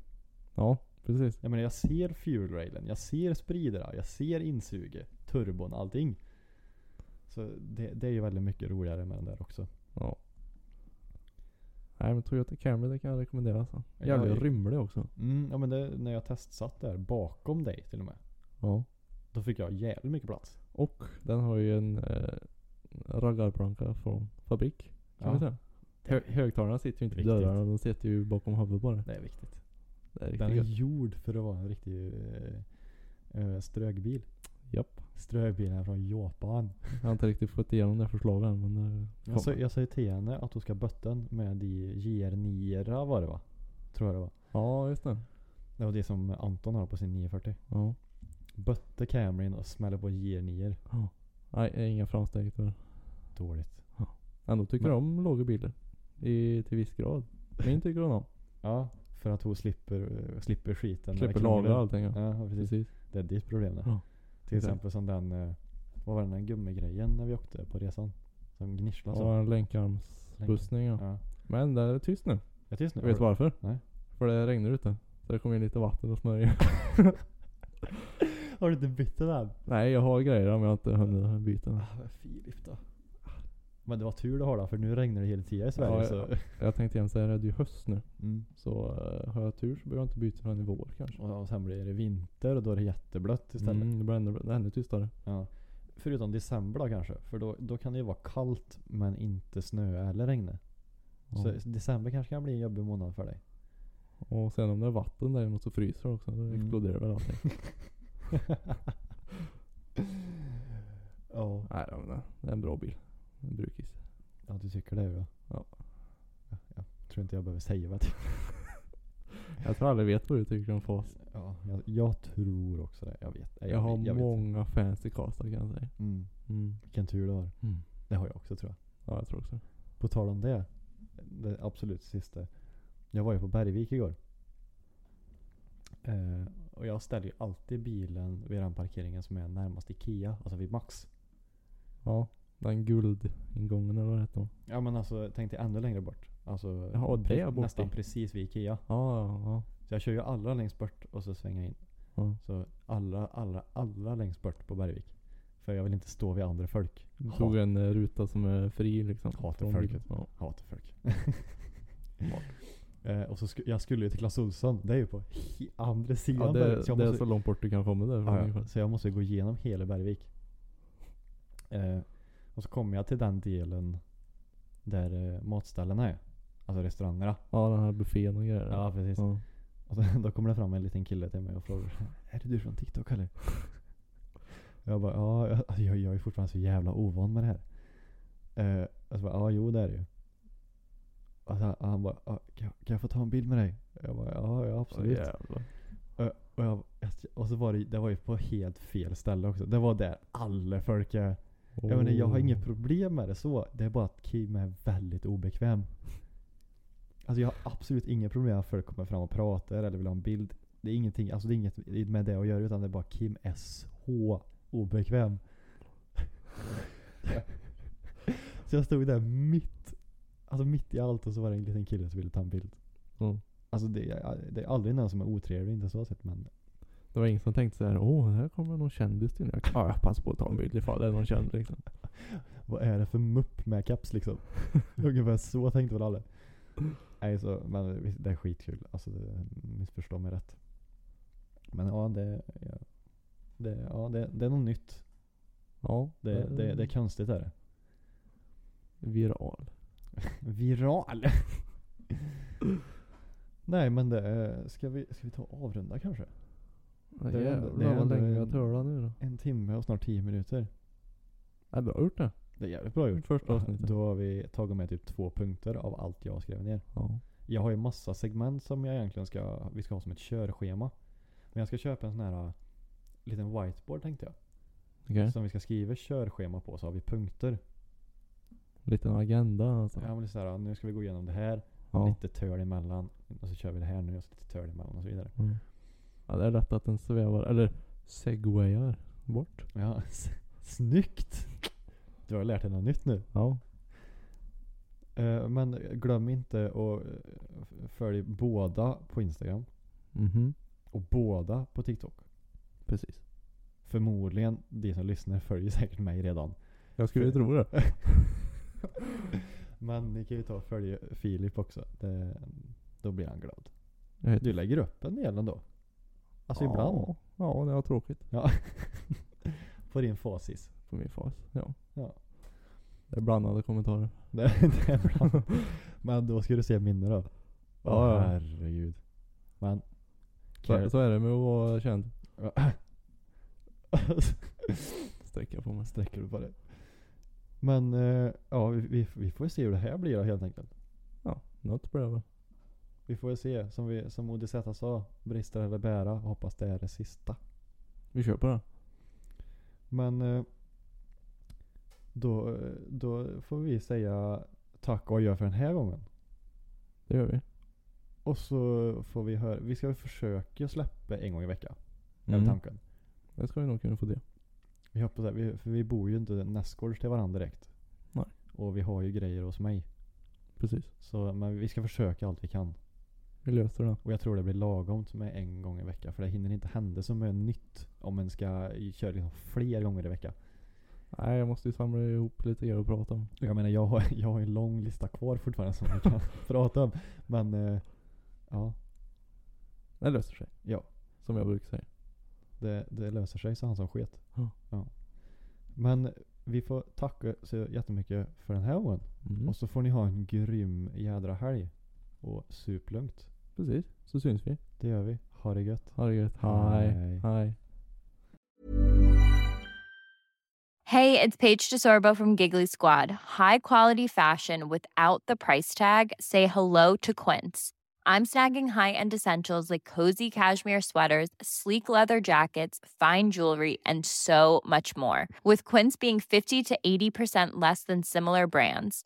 Speaker 1: ja, precis.
Speaker 2: Jag menar jag ser fuel railen, jag ser spridera, jag ser insuget, turbon, allting. Så det, det är ju väldigt mycket roligare med den där också.
Speaker 1: Ja. Nej men Toyota Camry det kan jag rekommendera alltså.
Speaker 2: Jag
Speaker 1: Jävligt
Speaker 2: har ju-
Speaker 1: rymlig också.
Speaker 2: Mm, ja men det, när jag testsatt där bakom dig till och med.
Speaker 1: Ja.
Speaker 2: Då fick jag jävligt mycket plats.
Speaker 1: Och den har ju en eh, raggarplanka från fabrik. Kan
Speaker 2: Ja.
Speaker 1: vi säga. Hö- högtalarna sitter ju inte i
Speaker 2: Riktigt.
Speaker 1: dörrarna, de sitter ju bakom huvudet bara.
Speaker 2: Det är viktigt.
Speaker 1: Det är riktigt
Speaker 2: Den är
Speaker 1: gött.
Speaker 2: gjord för att vara en riktig eh, eh, strögbil.
Speaker 1: Japp.
Speaker 2: Strögbilen från Japan.
Speaker 1: Jag har inte riktigt fått igenom det förslaget än, men det kommer.
Speaker 2: Jag, sa, jag sa ju till henne att hon ska bötten med de JR9 var det va? Tror jag det var.
Speaker 1: Ja just det.
Speaker 2: Det var det som Anton har på sin 940.
Speaker 1: Ja.
Speaker 2: Bötte Camryn och smäller på JR9.
Speaker 1: Ja. Nej, det är inga framsteg tyvärr.
Speaker 2: Dåligt.
Speaker 1: Ändå tycker
Speaker 2: Men-
Speaker 1: jag om låga bilar. I, till viss grad. Min tycker hon om.
Speaker 2: Ja, för att hon slipper, eh, slipper skiten. när det
Speaker 1: Klipper
Speaker 2: krånglar.
Speaker 1: lagar och allting ja.
Speaker 2: Ja, precis.
Speaker 1: Precis.
Speaker 2: Det är ditt problem det.
Speaker 1: Ja,
Speaker 2: Till
Speaker 1: exakt.
Speaker 2: exempel som den, eh, vad var den där gummigrejen när vi åkte på resan? Som gnisslade så.
Speaker 1: Och en länkarmsbussning ja.
Speaker 2: Ja.
Speaker 1: Men det är tyst nu.
Speaker 2: Jag är tyst nu.
Speaker 1: Vet du varför?
Speaker 2: Nej.
Speaker 1: För det regnar ute. Så det kom in lite vatten och smörja.
Speaker 2: Har du inte bytt den än?
Speaker 1: Nej jag har grejer om jag inte hunnit byta.
Speaker 2: Ah, men Filip då. Men det var tur du har då, för nu regnar det hela tiden i Sverige.
Speaker 1: Ja,
Speaker 2: så.
Speaker 1: Jag tänkte igen säga det är ju höst nu.
Speaker 2: Mm.
Speaker 1: Så eh, har jag tur så behöver jag inte byta förrän i vår kanske.
Speaker 2: Och sen blir det vinter och då är det jätteblött istället.
Speaker 1: Mm, det blir ännu, det är ännu tystare.
Speaker 2: Ja. Förutom december då kanske, för då, då kan det ju vara kallt men inte snö eller regn.
Speaker 1: Ja.
Speaker 2: Så december kanske kan bli en jobbig månad för dig.
Speaker 1: Och sen om det är vatten däremot så fryser det också. Då
Speaker 2: Mm.
Speaker 1: exploderar väl allting.
Speaker 2: ja.
Speaker 1: Nej jag menar, det är en bra bil. En brukis.
Speaker 2: ja, du tycker det ja.
Speaker 1: Ja.
Speaker 2: Ja, Jag tror inte jag behöver säga vad jag tycker.
Speaker 1: Jag tror alla vet vad du tycker om FAS.
Speaker 2: Ja, jag, jag tror också det. Jag vet.
Speaker 1: Jag,
Speaker 2: Jag,
Speaker 1: har
Speaker 2: vet- jag vet.
Speaker 1: många fans i Karlstad kan jag säga.
Speaker 2: Mm.
Speaker 1: Mm.
Speaker 2: Vilken tur du har.
Speaker 1: Mm.
Speaker 2: Det har jag också tror jag.
Speaker 1: Ja jag tror också
Speaker 2: På tal om det. Det absolut sista. Jag var ju på Bergvik igår. Eh, och jag ställer ju alltid bilen vid den parkeringen som är närmast IKEA. Alltså vid Max.
Speaker 1: Ja. Den guldingången eller vad det heter.
Speaker 2: Ja men alltså tänk dig ännu längre bort. Alltså
Speaker 1: Jaha,
Speaker 2: pre-
Speaker 1: där borta.
Speaker 2: nästan precis vid IKEA.
Speaker 1: Ja, ja, ja.
Speaker 2: Så jag kör ju allra längst bort och så svänger jag in.
Speaker 1: Ja.
Speaker 2: Så allra, allra, allra längst bort på Bergvik. För jag vill inte stå vid andra folk.
Speaker 1: Du tog en eh, ruta som är fri liksom.
Speaker 2: Hatar
Speaker 1: Från
Speaker 2: folket.
Speaker 1: bilen. Ja.
Speaker 2: Hatar folk. eh, och så sku- jag skulle ju till Clas Ohlson. Det är ju på he- andra sidan.
Speaker 1: Ja, det,
Speaker 2: Bergvik, så
Speaker 1: det
Speaker 2: jag
Speaker 1: är
Speaker 2: måste,
Speaker 1: så långt bort du kan komma där.
Speaker 2: ja, ja, så jag måste gå igenom hela Bergvik. Eh, och så kommer jag till den delen där eh, matställena är. Alltså restaurangerna.
Speaker 1: Ja den här buffén och grejer.
Speaker 2: Ja precis.
Speaker 1: Ja.
Speaker 2: Och så, då kommer det fram en liten kille till mig och frågar Är det du från TikTok eller? Jag bara ja, jag- alltså, jag, jag är fortfarande så jävla ovan med det här. Eh, och så bara ja, jo det är det ju. Och så, han bara "Ja, kan jag, kan jag få ta en bild med dig? Jag bara ja, ja absolut.
Speaker 1: Åh, jävlar.
Speaker 2: Eh, och, jag, och så var det, det var ju på helt fel ställe också. Det var där alla folk är. Jag menar jag har
Speaker 1: Oh.
Speaker 2: inget problem med det så. Det är bara att Kim är väldigt obekväm. Alltså jag har absolut inga problem med att folk kommer fram och pratar eller vill ha en bild. Det är ingenting, alltså det är inget med det att göra utan det är bara Kim är så obekväm. så jag stod där mitt, alltså mitt i allt och så var det en liten kille som ville ta en bild.
Speaker 1: Mm.
Speaker 2: Alltså det, är- det är aldrig någon som är otrevlig, inte så sett men
Speaker 1: Det var ingen som tänkte såhär, åh här kommer någon kändis till. Jag, ja, jag passar på att ta en bild ifall det är någon känd liksom.
Speaker 2: Vad är det för mupp med caps liksom? Ungefär så tänkte väl alla. Nej, så, men visst, det är skitkul. Alltså, det, missförstå mig rätt. Men ja, det, ja, det, ja, det, det är något nytt.
Speaker 1: Ja.
Speaker 2: Det, det, det är konstigt är det.
Speaker 1: Viral.
Speaker 2: Viral! Nej men det, är- ska vi, ska vi ta och avrunda kanske?
Speaker 1: Ja,
Speaker 2: Det är ändå- det
Speaker 1: Jävlar
Speaker 2: är
Speaker 1: vad
Speaker 2: ändå
Speaker 1: länge
Speaker 2: en-
Speaker 1: jag tölar nu då.
Speaker 2: En timme och snart tio minuter.
Speaker 1: Det är bra gjort det.
Speaker 2: Det är jävligt bra gjort.
Speaker 1: Första avsnittet.
Speaker 2: Då har vi tagit med typ två punkter av allt jag skrev ner.
Speaker 1: Ja.
Speaker 2: Jag har ju massa segment som jag egentligen ska, vi ska ha som ett körschema. Men jag ska köpa en sån här äh, liten whiteboard tänkte jag.
Speaker 1: Okej.
Speaker 2: Som vi ska skriva körschema på så har vi punkter.
Speaker 1: Liten agenda alltså.
Speaker 2: Ja,
Speaker 1: Ja.
Speaker 2: men det är så här, nu ska vi gå igenom det här,
Speaker 1: Ja.
Speaker 2: lite töl emellan. Och så kör vi det här nu och så lite töl emellan och så vidare.
Speaker 1: Mm. ja det är lätt att den svävar, eller segwayar bort.
Speaker 2: Ja, s- snyggt! Du har lärt dig något nytt nu.
Speaker 1: Ja.
Speaker 2: Eh, men glöm inte att eh, f- följ båda på Instagram
Speaker 1: Mhm.
Speaker 2: och båda på TikTok.
Speaker 1: Precis.
Speaker 2: Förmodligen, de som lyssnar följer säkert mig redan.
Speaker 1: Jag skulle ju tro det.
Speaker 2: Men ni kan ju ta och följa Filip också. Det, då blir han glad.
Speaker 1: Jag heter-
Speaker 2: Du lägger upp en del ändå. Alltså ibland.
Speaker 1: Ja, ja det var tråkigt.
Speaker 2: På din fasis.
Speaker 1: På min fas. Ja.
Speaker 2: Ja.
Speaker 1: Det är blandade kommentarer.
Speaker 2: Det, det är ibland. Men då ska du se minne då. Åh
Speaker 1: Ja, ja.
Speaker 2: herregud. Men.
Speaker 1: Så,
Speaker 2: Care,
Speaker 1: så är det med att vara känd. Sträcka på mig.
Speaker 2: Sträcker du på det. Men eh, ja, vi, vi, vi får se hur det här blir då helt enkelt.
Speaker 1: Ja, något blir det väl.
Speaker 2: Vi får se. Som, vi, som Odysetta sa. Brister eller bära. Hoppas det är det sista.
Speaker 1: Vi kör på det.
Speaker 2: Men eh, då, då får vi säga tack och adjö för den här gången.
Speaker 1: Det gör vi.
Speaker 2: Och så får vi höra. Vi ska väl försöka släppa en gång i veckan. Är
Speaker 1: Mm.
Speaker 2: tanken.
Speaker 1: Det ska vi nog kunna få det.
Speaker 2: Vi hoppas det. Vi, för vi bor ju inte nästgårds till varandra direkt.
Speaker 1: Nej.
Speaker 2: Och vi har ju grejer hos mig.
Speaker 1: Precis.
Speaker 2: Så men vi ska försöka allt vi kan.
Speaker 1: Vi löser det.
Speaker 2: Och jag tror det blir lagom med en gång i veckan. För det hinner inte hända så mycket nytt. Om man ska köra liksom fler gånger i veckan.
Speaker 1: Nej, jag måste ju samla ihop lite grejer och prata om.
Speaker 2: Jag menar jag har, jag har en lång lista kvar fortfarande som vi kan prata om. Men eh, ja,
Speaker 1: Det löser sig.
Speaker 2: Ja.
Speaker 1: Som jag brukar säga.
Speaker 2: det, det löser sig så han som sket.
Speaker 1: Ja.
Speaker 2: Men vi får tacka så jättemycket för den här gången.
Speaker 1: Mm.
Speaker 2: Och så får ni ha en grym jädra helg. Och sup lugnt.
Speaker 1: Precis. Så syns vi.
Speaker 2: Det gör vi. Ha det gött.
Speaker 1: Ha det gött.
Speaker 2: Hej.
Speaker 1: Hej. Hej.
Speaker 3: Hey, it's Paige DeSorbo from Giggly Squad. High quality fashion without the price tag. Say hello to Quince. I'm snagging high-end essentials like cozy cashmere sweaters, sleek leather jackets, fine jewelry, and so much more. With Quince being 50 to 80% less than similar brands.